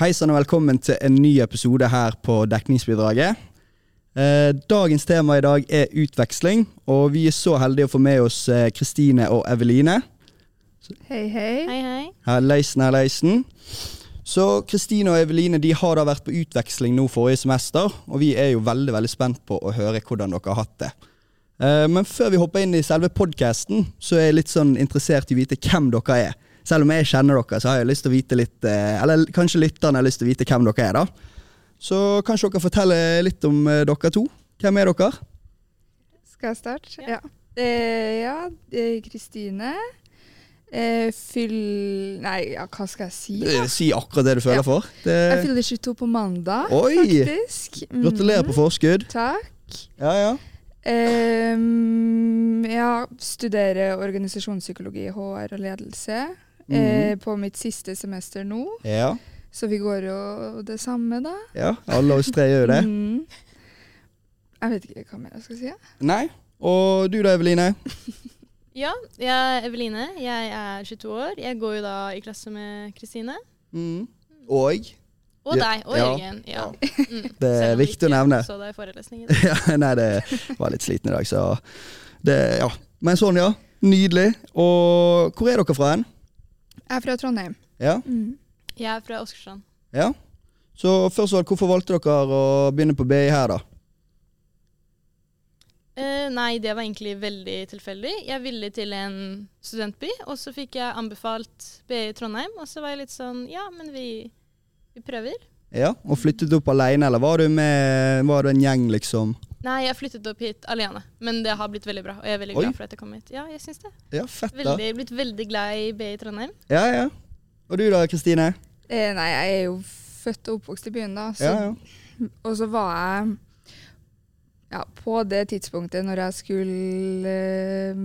Hei sann og velkommen til en ny episode her på Dekningsbidraget. Eh, Dagens tema i dag er utveksling, og vi er så heldige å få med oss eh, Kristine og Eveline. Hei, hei. Hei, hei. Herleisen, herleisen. Så Kristine og Eveline de har da vært på utveksling nå forrige semester, og vi er jo veldig veldig spent på å høre hvordan dere har hatt det. Eh, Men før vi hopper inn i selve podkasten, så er jeg litt sånn interessert i å vite hvem dere er. Selv om jeg kjenner dere, så har jeg lyst til å vite litt eh, Eller kanskje lytterne har lyst til å vite hvem dere er, da. Så kanskje dere forteller litt om eh, dere to. Hvem er dere? Skal jeg starte? Ja. Ja. Eh, ja, eh, Kristine. Eh, fyll... Nei, ja, hva skal jeg si? Eh, Si akkurat det du føler Ja. for. Jeg Det... fyller 22 på mandag, Oi! faktisk. Mhm. Gratulerer på forskudd. Takk. Ja, ja. Eh, ja, studerer organisasjonspsykologi, HR og ledelse. Mhm. Eh, på mitt siste semester nå, Ja, så vi går jo det samme, da. ja. Alle oss tre gjør jo det. Mhm. Jeg vet ikke hva mer jeg skal si. jeg. Nei. Og du da, Eveline? Ja, jeg er Eveline. Jeg er 22 år. Jeg går jo da i klasse med Kristine. Mm. Og? Og Ja, deg. Og ja. Jørgen. Ja. Mm. Det Selv er om vi viktig å ikke nevne. Så deg i forelesningen. Ja, nei, det var litt sliten i dag, så det, ja. Men sånn, ja. Nydelig. Og hvor er dere fra hen? Jeg er fra Trondheim. Ja. Mhm. Jeg er fra Åsgårdstrand. ja. Så først og alt, hvorfor valgte dere å begynne på BI her, da? Eh, nei, det var egentlig veldig tilfeldig. Jeg ville til en studentby, og så fikk jeg anbefalt BI i Trondheim. Og så var jeg litt sånn Ja, men vi, vi prøver. Ja, Og flyttet du opp alene, eller var du med Var du en gjeng, liksom? Nei, jeg flyttet opp hit alene, men det har blitt veldig bra. Og jeg er veldig Oi. glad for at jeg kom hit. Ja, jeg syns det. Ja, fett, da. Veldig, blitt veldig glad i BI i Trondheim. Ja, ja. Og du da, Kristine? Eh, nei, jeg er jo født og oppvokst i byen, da. Så Ja, ja. Og så var jeg ja, På det tidspunktet når jeg skulle eh,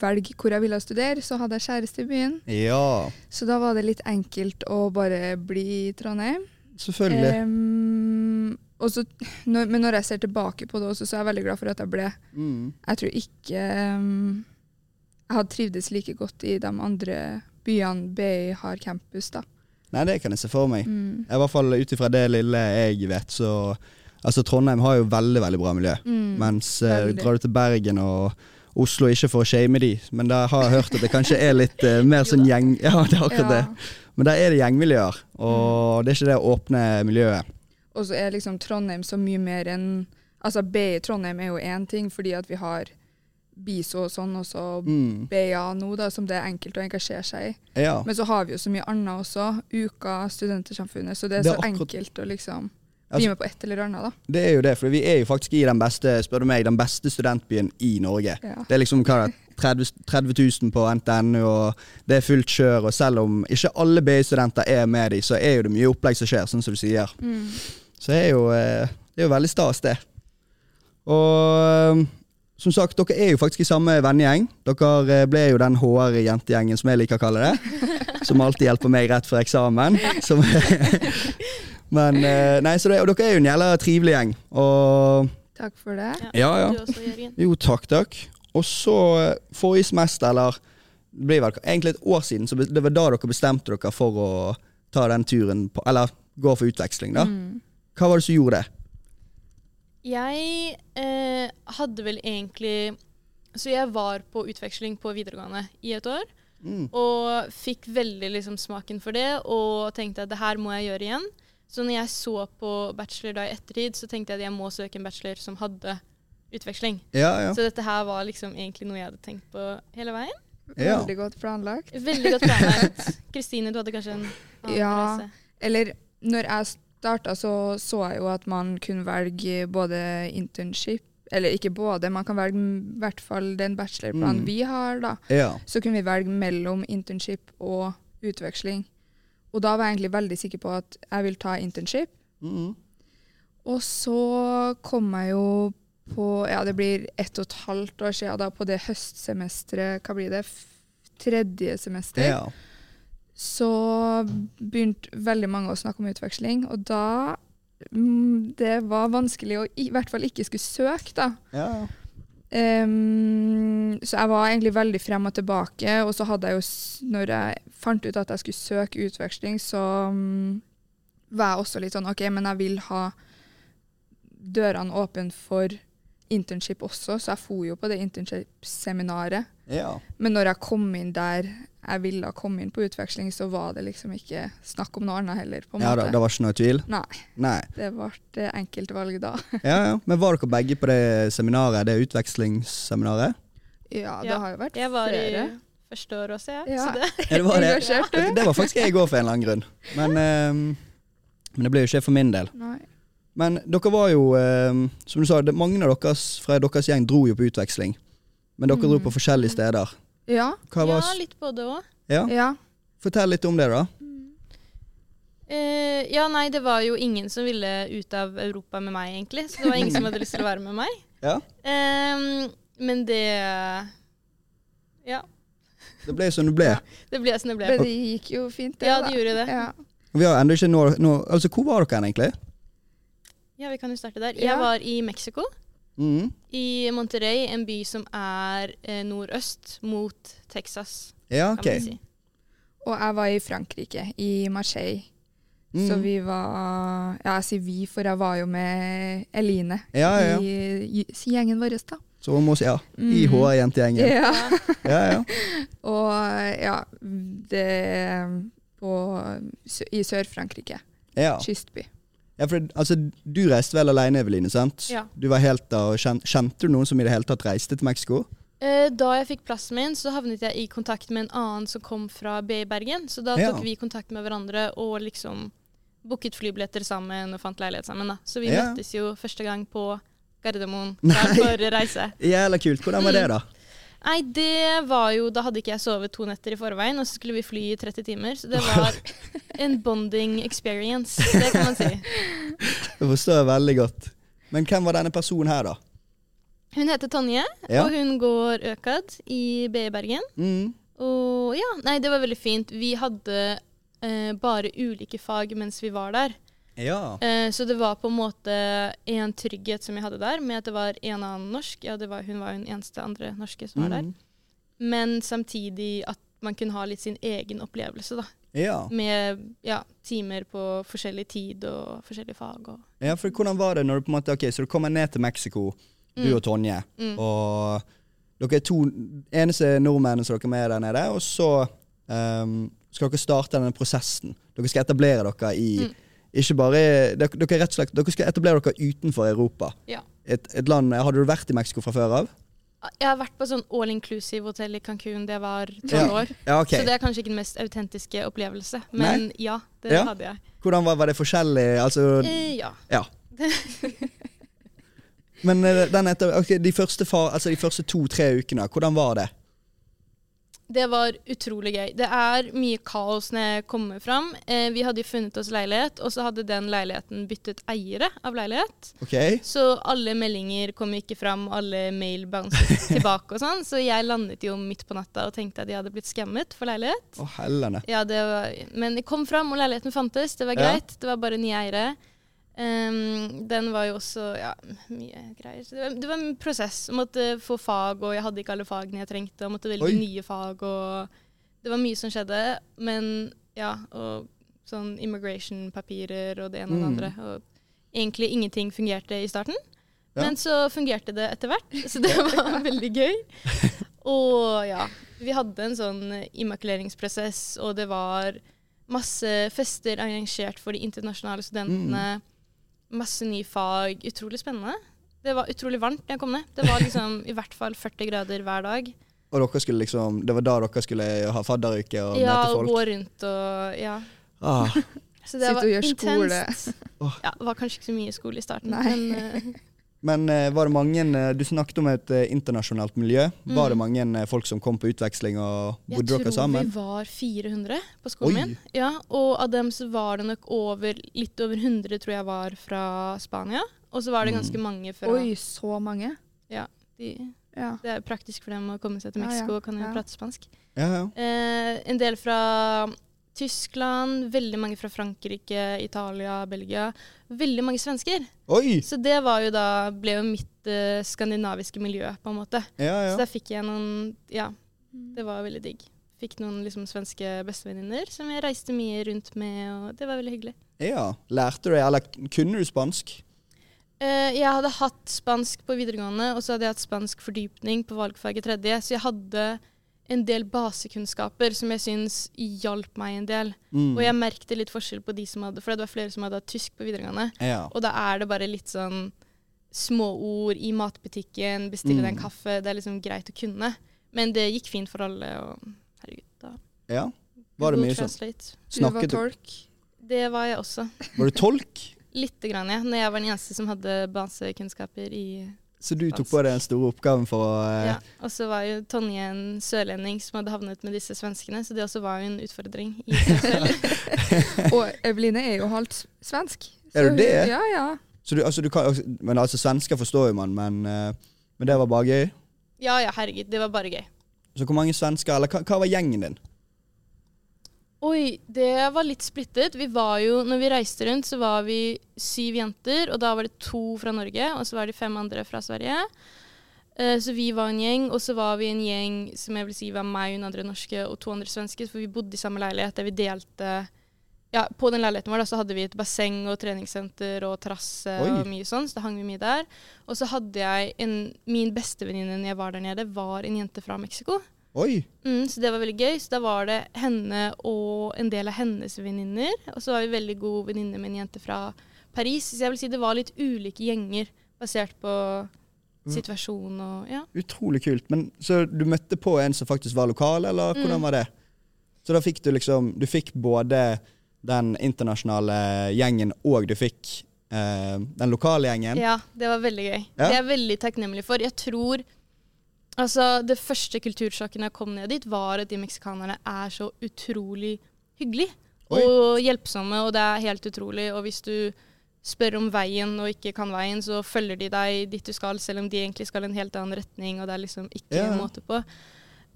velge hvor jeg ville studere, så hadde jeg kjæreste i byen. ja. Så da var det litt enkelt å bare bli i Trondheim. Selvfølgelig. Em, og så, når, men når jeg ser tilbake på det også, så er jeg veldig glad for at jeg ble. Mm. Jeg tror ikke em, jeg hadde trivdes like godt i de andre byene BI har campus, da. Nei, det kan jeg se for meg. Mm. I hvert fall ut ifra det lille jeg vet, så Altså, Trondheim har jo veldig, veldig bra miljø. Mm. Mens eh, Veldig. drar du til Bergen og Oslo, ikke for å shame de, men der har jeg hørt at det kanskje er litt eh, mer sånn gjeng... Ja, det er akkurat Ja. Mm. det. Men der er det gjengmiljøer, og det er ikke det åpne miljøet. Og så er liksom Trondheim så mye mer enn Altså BI Trondheim er jo én ting, fordi at vi har BISO og sånn, og så Mm. BA nå, da, som det er enkelt å engasjere seg i. Ja. Men så har vi jo så mye annet også. Uka, Studentersamfunnet. Så det er, Det er så akkurat- enkelt å liksom Altså- bli med på et eller annet, da. Det er jo det, for vi er jo faktisk i den beste, spør du meg, den beste studentbyen i Norge. Ja. Det er liksom hva er det 30, 30 000 på NTNU, og det er fullt kjør. Og selv om ikke alle BI-studenter er med de, så er jo det mye opplegg som skjer, sånn som du sier. Så det er jo, eh, det er jo veldig stas, det. Og eh, som sagt, dere er jo faktisk i samme vennegjeng. Dere eh, ble jo den HR-jentegjengen som jeg liker å kalle det. Som alltid hjelper meg rett før eksamen. Som, men eh, nei, så det, Og dere er jo en jævla trivelig gjeng. Og Takk for det. Ja, ja. Du også, Jørgen. jo, takk, takk. Og så eh, forrige semester, eller det blir vel egentlig et år siden, så be- det var da dere bestemte dere for å ta den turen på Eller gå for utveksling, da. Mm. Hva var det som gjorde det? Jeg eh, hadde vel egentlig Så jeg var på utveksling på videregående i et år. Mm. Og fikk veldig liksom, smaken for det og tenkte at det her må jeg gjøre igjen. Så når jeg så på bachelor da i ettertid, så tenkte jeg at jeg må søke en bachelor som hadde utveksling. Ja, ja. Så dette her var liksom egentlig noe jeg hadde tenkt på hele veien. Ja. Veldig godt planlagt. Veldig godt planlagt. Kristine, du hadde kanskje en annen Ja. interesse? Eller når jeg starta, så så jeg jo at man kunne velge både internship Eller ikke både, man kan velge m- i hvert fall den bachelorplanen Mm. vi har, da. Ja. Så kunne vi velge mellom internship og utveksling. Og da var jeg egentlig veldig sikker på at jeg vil ta internship. Mm. Og så kom jeg jo på Ja, det blir ett og et halvt år siden da, på det høstsemesteret Hva blir det? F- Tredje semester. Ja. så begynte veldig mange å snakke om utveksling, og da mm, Det var vanskelig å i, i hvert fall ikke skulle søke, da. Ja. Ehm, så jeg var egentlig veldig frem og tilbake, og så hadde jeg jo s- Når jeg fant ut at jeg skulle søke utveksling, så mm, var jeg også litt sånn OK, men jeg vil ha dørene åpne for internship også, så jeg for jo på det internship-seminaret. Ja. Men når jeg kom inn der jeg ville komme inn på utveksling, så var det liksom ikke snakk om noe annet heller. på en ja da, måte. det var ikke noe tvil? Nei, Nei. det ble eh, enkeltvalg da. Ja, ja. Men var dere begge på det seminaret, det utvekslingsseminaret? Ja, det Ja, har jo vært Jeg var flere. i første år også, jeg. Ja. Så det, Ja, det var det. Engasjert, du? Det var faktisk jeg òg, for en eller annen grunn. Men, ehm, men det ble jo ikke for min del. Nei. Men dere var jo, ehm, som du sa, det, mange av deres fra deres gjeng dro jo på utveksling. Men dere dro på forskjellige steder. Ja, Hva var Mm. ja, litt både òg. ja. ja. Fortell litt om det, da. Eh, ja, nei, det var jo ingen som ville ut av Europa med meg, egentlig. Så det var ingen som hadde lyst til å være med meg. Ja. Ehm, men det Ja. Det ble som det ble. Det ble som det ble. Men det gikk jo fint, det. Ja, da. det gjorde det. Ja. Vi har enda ikke nå, nå Altså, hvor var dere hen, egentlig? Ja, vi kan jo starte der. Ja. Jeg var i Mexico. Mhm. I Monterrey, en by som er eh, nordøst mot Texas, Ja, kan OK. man si. Og jeg var i Frankrike, i Marseille. Så Mhm. vi var Ja, jeg sier vi, for jeg var jo med Eline Ja, ja, ja. i i gjengen vår, da. Så hun må si ja. Mm. IH er jentegjengen. Ja. Ja, ja. Og ja, det på, sø- I Sør-Frankrike. ja. Kystby. ja for, altså, du reiste vel alene, Eveline? sant? Ja. Du var helt der, og kjen- Kjente du noen som i det hele tatt reiste til Mexico? Eh, Da jeg fikk plassen min, så havnet jeg i kontakt med en annen som kom fra BI Bergen. Så da Ja. tok vi kontakt med hverandre og liksom booket flybilletter sammen og fant leilighet sammen. da. Så vi Ja. møttes jo første gang på Gardermoen klar for reise. Jævla kult. Hvordan var det, da? Mm. Nei, det var jo Da hadde ikke jeg sovet to netter i forveien, og så skulle vi fly i 30 timer. Så det var en bonding experience, det kan man si. Det forstår jeg veldig godt. Men hvem var denne personen her, da? Hun heter Tonje, Ja. og hun går Økad i BI Bergen. Mm. Og ja, nei, det var veldig fint. Vi hadde eh, bare ulike fag mens vi var der. Ja. Eh, så det var på en måte en trygghet som jeg hadde der, med at det var en annen norsk. Ja, det var, hun var jo den eneste andre norske som var der. Mm. Men samtidig at man kunne ha litt sin egen opplevelse, da. Ja. Med ja, timer på forskjellig tid og forskjellige fag og ja, for hvordan var det når du på en måte Ok, så du kommer ned til Mexico, du og Tonje, Mm. og dere er to eneste nordmennene som dere er med der nede, og så ehm, skal dere starte denne prosessen. Dere skal etablere dere i Mm. Ikke bare dere, dere, er rett og slett, dere skal etablere dere utenfor Europa. Ja. Et, et land Hadde du vært i Mexico fra før av? Jeg har vært på sånn all inclusive hotell i Cancún da jeg var tolv Ja. år. ja ok. Så det er kanskje ikke den mest autentiske opplevelse, men ja, det Ja. hadde jeg. Hvordan var, var det forskjellig? Altså, Eh, ja. Ja. Men eh, den etter, ok, de første, fa- altså de første to-tre ukene, hvordan var det? Det var utrolig gøy. Det er mye kaos når jeg kommer fram. Eh, vi hadde jo funnet oss leilighet, og så hadde den leiligheten byttet eiere av leilighet. Ok? Så alle meldinger kom ikke fram, alle mail bounces tilbake og sånn. Så jeg landet jo midt på natta og tenkte at jeg hadde blitt skammet for leilighet. Å, hellene. Ja, det var, men jeg kom fram, og leiligheten fantes. Det var Ja. greit. Det var bare nye eiere. Ehm, den var jo også ja, mye greier. Så det, var, det var en prosess. Jeg måtte få fag, og jeg hadde ikke alle fagene jeg trengte. Jeg måtte velge Oi. nye fag, og det var mye som skjedde. Men ja, og sånn immigration-papirer og det ene og det Mm. andre. Og egentlig ingenting fungerte i starten. Ja. Men så fungerte det etter hvert, så det var veldig gøy. Og ja, vi hadde en sånn immakuleringsprosess, og det var masse fester arrangert for de internasjonale studentene. Mm. Masse nye fag. Utrolig spennende. Det var utrolig varmt da jeg kom ned. Det var liksom i hvert fall 40 grader hver dag. Og dere skulle liksom, det var da dere skulle ha fadderuke og Ja, møte og folk? gå rundt og ja. Ah, Så Sitte det var og gjøre intenst. Åh. Ja, det var kanskje ikke så mye skole i starten, Nei. men eh, men eh, var det mange eh, Du snakket om et eh, internasjonalt miljø. Var det mange eh, folk som kom på utveksling, og Mm. jeg bodde dere tror vi sammen? var 400 på Oi. skolen min. Ja, og av dem så var det nok over, litt over 100 tror jeg var fra Spania. Og så var det Mm. ganske mange fra Oi, så mange? de, Ja. Det er praktisk for dem å komme seg til Ja, ja. Mexico og kan jo Ja. prate spansk. Ja, ja. Eh, en del fra Tyskland, veldig mange fra Frankrike, Italia, Belgia. Veldig mange svensker. Oi! Så det var jo da, ble jo mitt eh, skandinaviske miljø, på en måte. Ja, Så ja. da fikk jeg noen Ja, det var veldig digg. Fikk noen liksom, svenske bestevenninner som jeg reiste mye rundt med, og det var veldig hyggelig. Ja, Lærte du det, eller kunne du spansk? Eh, jeg hadde hatt spansk på videregående, og så hadde jeg hatt spansk fordypning på valgfaget tredje, så jeg hadde en del basekunnskaper som jeg syns hjalp meg en del. Mm. Og jeg merkte litt forskjell på de som hadde, for det var flere som hadde hatt tysk på videregående. Ja. Og da er det bare litt sånn småord i matbutikken, bestille deg Mm. en kaffe. Det er liksom greit å kunne. Men det gikk fint for alle. Og herregud, da. ja. Var det Google mye sånn? Translate. Du var Snakket du tolk. Det var jeg også. sånn? Var du tolk? Lite grann, ja. Når jeg var den eneste som hadde basekunnskaper i Så du tok på deg den store oppgaven for å eh, ja. Og så var jo Tonje en sørlending som hadde havnet med disse svenskene, så det også var jo en utfordring. i seg selv. Og Eveline er jo halvt s- svensk. Så Er du hun- det? Ja, ja. Så du, altså, du kan, men altså, svensker forstår jo man, men, eh, men det var bare gøy. ja ja, herregud. Det var bare gøy. Så hvor mange svensker, eller hva, hva var gjengen din? Oi, det var litt splittet. Vi var jo, når vi reiste rundt, så var vi syv jenter, og da var det to fra Norge, og så var det fem andre fra Sverige. Eh, Så vi var en gjeng, og så var vi en gjeng som jeg vil si var meg, hun andre norske og to andre svenske, for vi bodde i samme leilighet der vi delte ja, På den leiligheten vår da, så hadde vi et basseng og treningssenter og terrasse Oi. og mye sånn, så da hang vi mye der. Og så hadde jeg en Min bestevenninne når jeg var der nede, var en jente fra Mexico. Oi! Mm, så det var veldig gøy. Så da var det henne og en del av hennes venninner. Og så var vi veldig gode venninner med en jente fra Paris. Så jeg vil si det var litt ulike gjenger basert på situasjonen og ja. Utrolig kult. Men Så du møtte på en som faktisk var lokal, eller Mm. hvordan var det? Så da fikk du liksom Du fikk både den internasjonale gjengen, og du fikk eh, den lokale gjengen. ja. Det var veldig gøy. Ja. Det er jeg veldig takknemlig for. Jeg tror Altså, det første kultursjokket når jeg kom ned dit, var at de meksikanerne er så utrolig hyggelige Oi. og hjelpsomme, og det er helt utrolig. Og hvis du spør om veien og ikke kan veien, så følger de deg dit du skal, selv om de egentlig skal en helt annen retning, og det er liksom ikke Ja. måte på.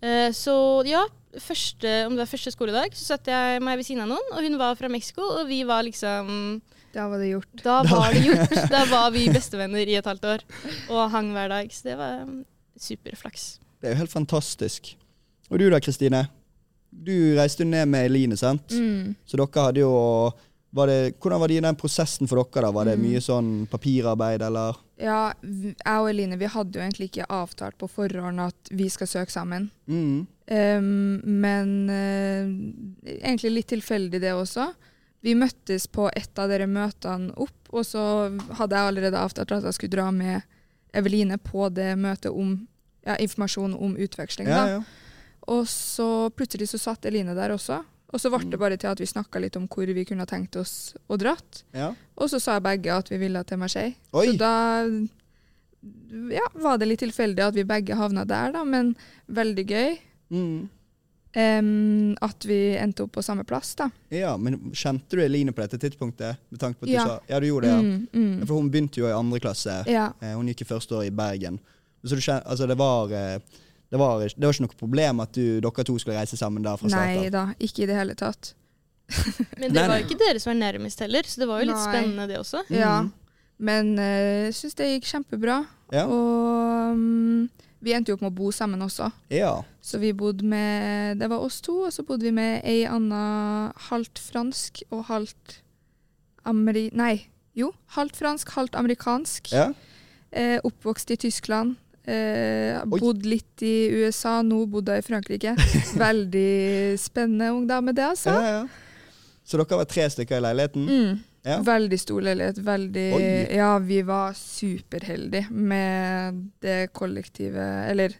Eh, så ja, første, om det var første skoledag, så satt jeg meg ved siden av noen, og hun var fra Mexico, og vi var liksom Da var det gjort. Da var det gjort. Da var vi bestevenner i et halvt år, og hang hver dag, så det var mm, superflaks. Det er jo helt fantastisk. Og du da, Kristine? Du reiste jo ned med Eline, sant? Mm. Mm. Så dere hadde jo var det, Hvordan var det i den prosessen for dere? da? Var Mm. det mye sånn papirarbeid, eller? Ja, v- jeg og Eline vi hadde jo egentlig ikke avtalt på forhånd at vi skal søke sammen. Mm. Ehm, men eh, egentlig litt tilfeldig det også. Vi møttes på et av dere møtene opp, og så hadde jeg allerede avtalt at jeg skulle dra med Eveline på det møtet om ja, informasjon om utveksling. Ja, da. ja. Og så plutselig så satt Eline der også. Og så ble Mm. det bare til at vi snakka litt om hvor vi kunne ha tenkt oss å dratt. ja. Og så sa begge at vi ville til Marseille. Oi! Så da ja, var det litt tilfeldig at vi begge havna der, da, men veldig gøy. Mm. em, at vi endte opp på samme plass, da. Ja, men Kjente du Eline på dette tidspunktet? Med tanke på at Ja. du sa Ja, du gjorde det, ja. Mm, mm. For hun begynte jo i andre klasse. Ja. Eh, Hun gikk i første år i Bergen. Så du kjen- altså det var eh, det var, ikke- det var ikke noe problem at du, dere to skulle reise sammen der fra Nei starten? da, ikke i det hele tatt. Men Nei, det var nei. jo ikke dere som var nærmest heller, så det var jo litt Nei. spennende det også. Mm. Ja. Men eh, jeg syns det gikk kjempebra. Ja. Og mm, vi endte jo opp med å bo sammen også. Ja. Så vi bodde med Det var oss to, og så bodde vi med ei anna halvt fransk og halvt ameri... Nei, jo. Halvt fransk, halvt amerikansk. ja. Eh, oppvokst i Tyskland. Eh, Oi. bodd litt i USA, nå bodde jeg i Frankrike. Veldig spennende ung dame, det, altså. ja, ja. Så dere var tre stykker i leiligheten? Mm. Ja. Veldig stor leilighet. Veldig Oi. Ja, vi var superheldige med det kollektivet Eller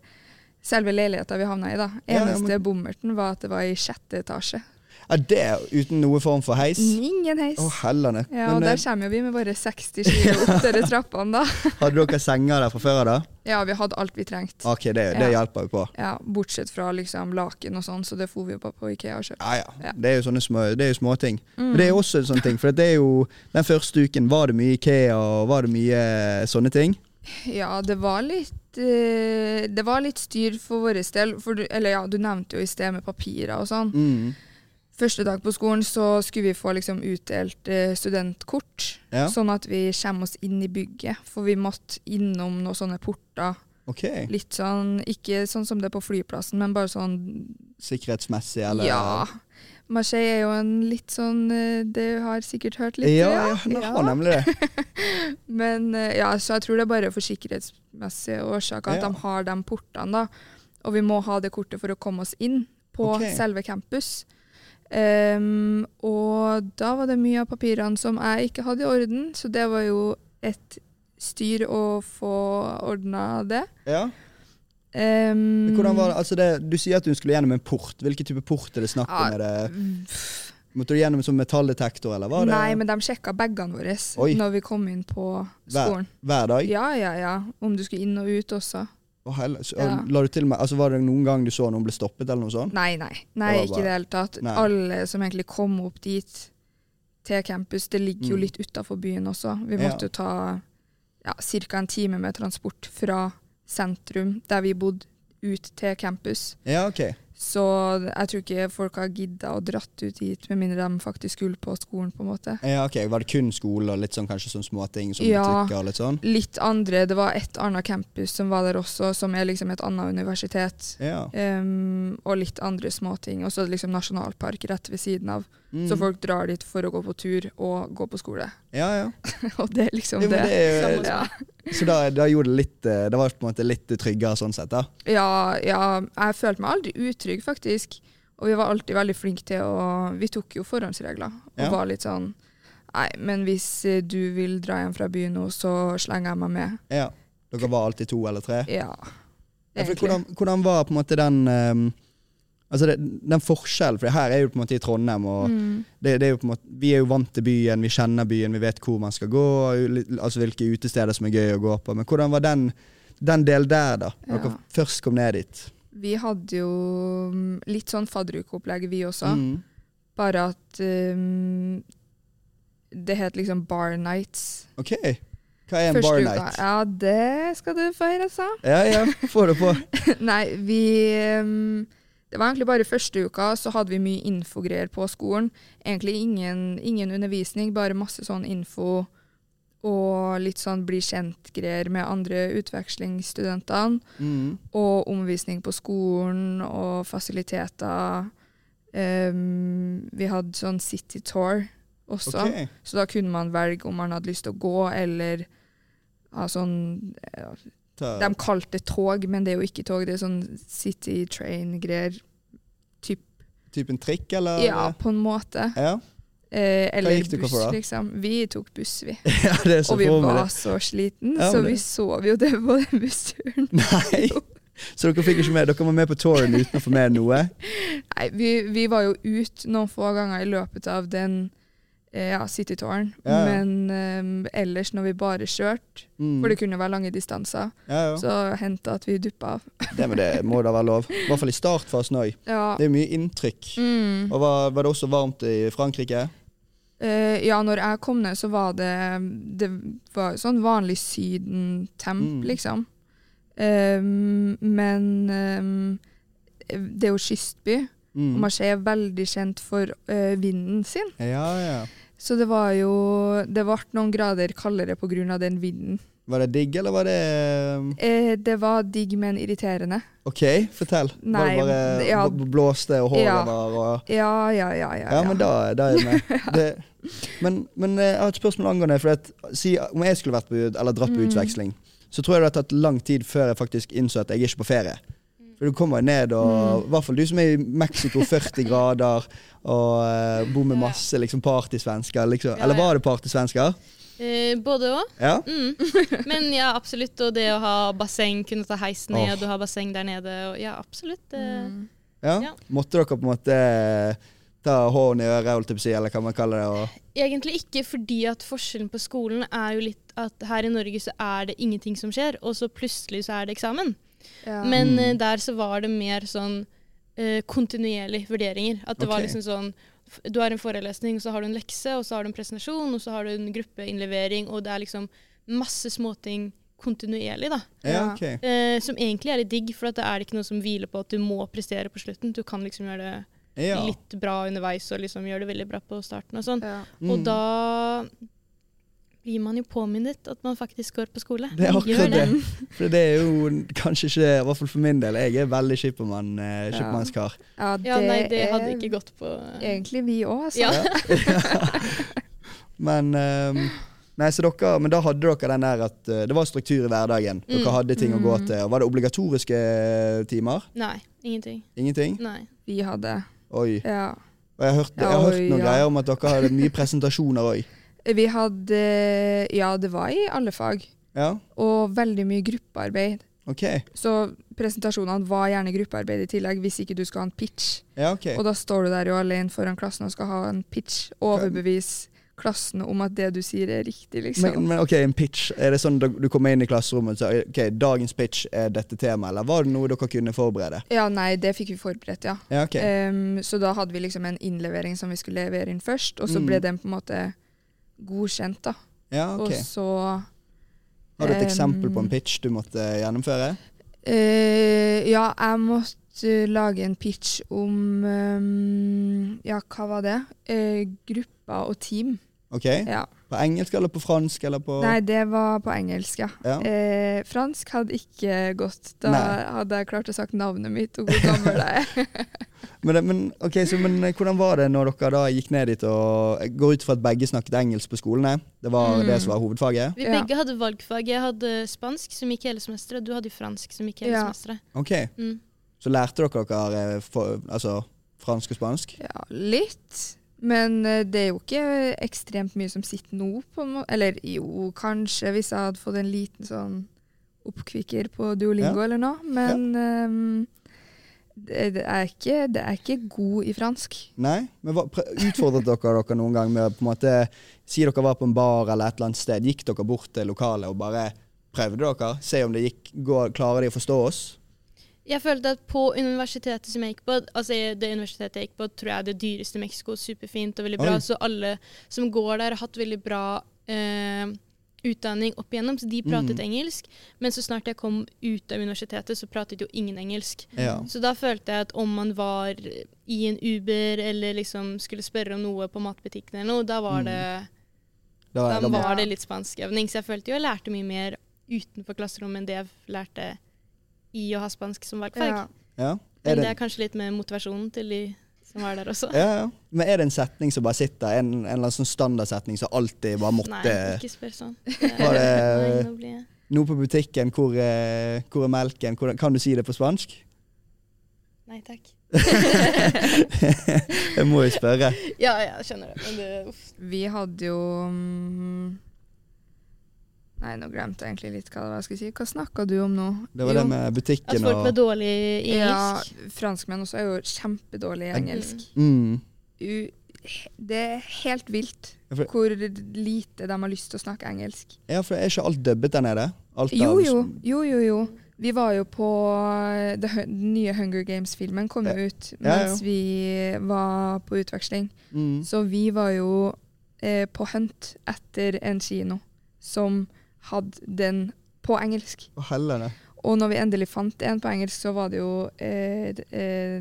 selve leiligheta vi havna i, da. Ja, ja, Eneste men- bommerten var at det var i sjette etasje. Ja, det uten noe form for heis? Ingen heis. Å, hellene. Mm. ja, Men, og eh, der kommer jo vi med våre 60 kilo opp dere trappene, da. Hadde dere senger der fra før av da? Ja, vi hadde alt vi trengte. Ok, det, det Ja. hjelper jo på. Ja, bortsett fra liksom laken og sånn, så det får vi jo bare på Ikea og kjøpe. Ja, ja. Ja. Mm. Det er jo sånne små, det er jo småting. Men det er jo også en sånn ting, for det er jo Den første uken var det mye IKEA, og var det mye eh, sånne ting? Ja, det var litt eh, det var litt styr for vår del. For du, eller ja, du nevnte jo i sted med papirer og sånn. Mm. Første dag på skolen så skulle vi få liksom utdelt eh, studentkort, Ja. sånn at vi kommer oss inn i bygget. For vi måtte innom noen sånne porter Ok. Litt sånn, ikke sånn som det er på flyplassen, men bare sånn sikkerhetsmessig, eller Ja. Marseille er jo en litt sånn eh, Det har sikkert hørt litt. ja, ja. ja, den Ja. har nemlig det. Men eh, ja, så jeg tror det er bare for sikkerhetsmessige årsaker at Ja. de har de portene. da. Og vi må ha det kortet for å komme oss inn på Ok. selve campus. Ehm, og da var det mye av papirene som jeg ikke hadde i orden, så det var jo et styr å få ordna det. Ja. Ehm, Men Hvordan var det? Altså det? Du sier at hun skulle gjennom en port. Hvilken type port er det snakk om? Ja, Er det, Ah, mm, Pff, måtte du gjennom en sånn metalldetektor, eller var det Nei, men de sjekka bagene våre Oi. når vi kom inn på Hver- skolen. hver dag? Ja, ja, ja. Om du skulle inn og ut også. Å, helle- så, Ja. la du til med, altså, var det noen gang du så noen ble stoppet, eller noe sånt? Nei, nei. nei var ikke bare- i det hele tatt. Nei. Alle som egentlig kom opp dit til campus, det ligger jo Mm. litt utafor byen også. Vi Ja. måtte jo ta ja, ca. en time med transport fra sentrum, der vi bodde, ut til campus. Ja, ok. Så jeg tror ikke folk har gidda å dratt ut dit, med mindre de faktisk skulle på skolen, på en måte. Ja, ok. Var det kun skole og litt sånn, kanskje sånn småting som Ja. butikker og litt sånn? Litt andre, det var et annet campus som var der også, som er liksom et annet universitet. Ja. Ehm, og litt andre småting. Og så er det liksom nasjonalpark rett ved siden av. Mm. Så folk drar dit for å gå på tur og gå på skole. ja, ja. og det er liksom Jo, men det. det er jo, Samme- Ja. så da, da gjorde det litt eh, Det var på en måte litt tryggere sånn sett, da? ja, ja, jeg følte meg aldri utrygg, faktisk. Og vi var alltid veldig flinke til å Vi tok jo forhåndsregler og Ja. var litt sånn Nei, men hvis eh, du vil dra hjem fra byen nå, så slenger jeg meg med. Ja. Dere var alltid to eller tre? Ja. Ja, for egentlig. hvordan, hvordan var på en måte den ehm, Altså det, den forskjellen, for her er jo på en måte i Trondheim, og Mm. det, det er jo på en måte, vi er jo vant til byen, vi kjenner byen, vi vet hvor man skal gå, og li- altså hvilke utesteder som er gøy å gå på. Men hvordan var den, den delen der, da? Når Ja. dere først kom ned dit. Vi hadde jo mm, litt sånn fadderukeopplegg, vi også. Mm. Bare at um, det het liksom Bar Nights. OK. Hva er en bar uka- night? Ja, det skal du få høre, sa. Ja, ja, få det på. Nei, vi um, Det var egentlig bare første uka, så hadde vi mye infogreier på skolen. Egentlig ingen, ingen undervisning, bare masse sånn info og litt sånn bli kjent-greier med andre utvekslingsstudentene. Mm. Og omvisning på skolen og fasiliteter. Um, vi hadde sånn city tour også. Ok. Så da kunne man velge om man hadde lyst til å gå, eller ha sånn eh, Ta- De kalte det tog, men det er jo ikke tog. Det er sånn city train-greier. Typen trikk, eller? Ja, på en måte. Ja, Eh, eller gikk dere buss, for da? liksom. Vi tok buss, vi. ja det er så Og vi for meg var det. så sliten, Ja, men så det- vi sov jo det på den bussturen. Nei! Så dere fikk ikke med Dere var med på touren uten å få med noe? Nei, vi, vi var jo ut noen få ganger i løpet av den eh, ja, citytouren. Ja, ja. Men eh, ellers, når vi bare kjørte, Mm. for det kunne jo være lange distanser, Ja, ja. så hendte at vi duppa av. Det, men det må da være lov. I hvert fall i startfasen òg. Ja. Det er mye inntrykk. Mm. Og var, var det også varmt i Frankrike? Eh, ja, når jeg kom ned, så var det Det var sånn vanlig Syden-temp, Mm. liksom. Ehm, men ehm, det er jo kystby, og Mm. Marseille er veldig kjent for eh, vinden sin. Ja, ja. Så det var jo Det ble noen grader kaldere pga. den vinden. Var det digg, eller var det um, Eh, det var digg, men irriterende. OK, fortell. Nei, var det bare ja. b- blåste, og håret Ja. var og Ja, ja, ja. ja, Ja, men da, da er jeg med. Det, men, men eh, jeg har et spørsmål angående for at, si, Om jeg skulle vært på, eller dratt på Mm. utveksling, så tror jeg det har tatt lang tid før jeg faktisk innså at jeg er ikke på ferie. For du kommer jo ned, og i hvert fall du som er i Mexico, 40 grader, og eh, bor med masse liksom, partysvensker. Liksom. Ja, Eller ja. var det partysvensker? Eh, både òg. Ja? Mm. Men ja, absolutt. Og det å ha basseng, kunne ta heis ned og ha basseng der nede. Og ja, absolutt. eh, Mm. ja? Ja. Måtte dere på en måte eh, ta hånden i øret, holdt jeg på å si, eller hva man kaller det? Og, Egentlig ikke, fordi at forskjellen på skolen er jo litt at her i Norge så er det ingenting som skjer, og så plutselig så er det eksamen. Ja. Men Mm. eh, der så var det mer sånn eh, kontinuerlige vurderinger. At det var Ok. liksom sånn f- Du har en forelesning, så har du en lekse, og så har du en presentasjon, og så har du en gruppeinnlevering, og det er liksom masse småting kontinuerlig, da. ja, Ja. ok. Eh, som egentlig er litt digg, for at det er ikke noe som hviler på at du må prestere på slutten. Du kan liksom gjøre det Ja. litt bra underveis og liksom gjøre det veldig bra på starten og sånn. Ja. Mm. Og da blir man jo påminnet at man faktisk går på skole. Det er Man gjør akkurat det. For det er jo kanskje ikke, i hvert fall for min del, jeg er veldig skippermann, eh, Ja. skippermannskar. Ja, Ja, nei, det er hadde ikke gått på Egentlig vi òg, altså. Ja. Men, ehm, nei, så dere, men da hadde dere den der at eh, det var struktur i hverdagen. Dere Mm. hadde ting å gå Mm. til. Var det obligatoriske eh, timer? Nei, ingenting. Ingenting? Mm. Nei. Vi hadde Oi. ja. Og jeg har hørt, jeg har Ja, hørt oi, noen ja. greier om at dere hadde mye presentasjoner òg. Vi hadde Ja, det var i alle fag. Ja, Og veldig mye gruppearbeid. OK. Så presentasjonene var gjerne gruppearbeid i tillegg, hvis ikke du skal ha en pitch. Ja, ok. Og da står du der jo alene foran klassen og skal ha en pitch. Overbevis klassen om at det du sier er riktig, liksom. Men, men ok, en pitch. Er det sånn da du kommer inn i klasserommet og sier ok, dagens pitch er dette temaet, eller var det noe dere kunne forberede? ja, nei, det fikk vi forberedt, ja. Ja, ok. Em, så da hadde vi liksom en innlevering som vi skulle levere inn først, og så Mm. ble den på en måte godkjent, da. Ja, ok. Og så Har du et ehm, eksempel på en pitch du måtte gjennomføre? Eh, ja, jeg måtte eh, lage en pitch om ehm, Ja, hva var det? Eh, grupper og team. Ok. Ja. På engelsk eller på fransk eller på Nei, det var på engelsk, ja. Ja. Eh, fransk hadde ikke gått. Da Nei. hadde jeg klart å sagt navnet mitt og hvor gammel jeg er. Men, det- men, ok, så, men eh, hvordan var det når dere da gikk ned dit og Jeg går ut fra at begge snakket engelsk på skolene? Det var Mm. det som var hovedfaget? Vi Ja. begge hadde valgfag. Jeg hadde spansk som gikk hele semesteret, og du hadde fransk som gikk hele Ja. semesteret. Ok. Mm. Så lærte dere dere eh, for, altså, fransk og spansk? Ja, litt. Men eh, det er jo ikke ekstremt mye som sitter nå, på en måte. Eller jo, kanskje hvis jeg hadde fått en liten sånn oppkvikker på Duolingo eller noe. Men ehm, det, det, er ikke, det er ikke god i fransk. Nei? Men hva, prø- utfordret dere dere noen gang med å på en måte Si dere var på en bar eller et eller annet sted. Gikk dere bort til lokalet og bare prøvde dere? Se om det gikk går, Klarer de å forstå oss? Jeg følte at på universitetet som jeg gikk på, altså det universitetet jeg gikk på, tror jeg er det dyreste i Mexico, superfint og veldig bra. Oi. Så alle som går der, har hatt veldig bra eh, utdanning opp igjennom, så de pratet Mm. engelsk. Men så snart jeg kom ut av universitetet, så pratet jo ingen engelsk. Ja. Så da følte jeg at om man var i en Uber eller liksom skulle spørre om noe på matbutikken eller noe, da var Mm. det, Da, da da må- var det litt spanskøvning. Så jeg følte jo jeg lærte mye mer utenfor klasserommet enn det jeg lærte i å ha spansk som valgfag. Ja. ja. Men det er kanskje litt med motivasjonen til de som var der også. Ja, ja. Men er det en setning som bare sitter? En, en eller annen sånn standardsetning som alltid bare måtte Nei, ikke spør sånn. Det- Var Nei, det nå blir jeg Noe på butikken, hvor, eh, hvor er melken? Hvordan- kan du si det på spansk? Nei takk. Jeg må jo spørre. Ja, ja, jeg skjønner det. Men det uff. Vi hadde jo mm, Nei, nå glemte jeg egentlig litt hva det var jeg skulle si. Hva snakka du om nå? Det var Jo, det med At butikken folk var og dårlige i engelsk. Ja, franskmenn også er jo kjempedårlige i Ja. engelsk. mm. u det er helt vilt Ja, for- hvor lite de har lyst til å snakke engelsk. Ja, for er ikke alt dubbet der nede? Alt av- Jo, jo, jo, jo. jo. Vi var jo på det, hu- Den nye Hunger Games-filmen kom jo ut Ja, ja. mens vi var på utveksling. Mm. Så vi var jo eh, på hunt etter en kino som hadde den på engelsk. Å, helvete. Og når vi endelig fant en på engelsk, så var det jo eh, d- eh,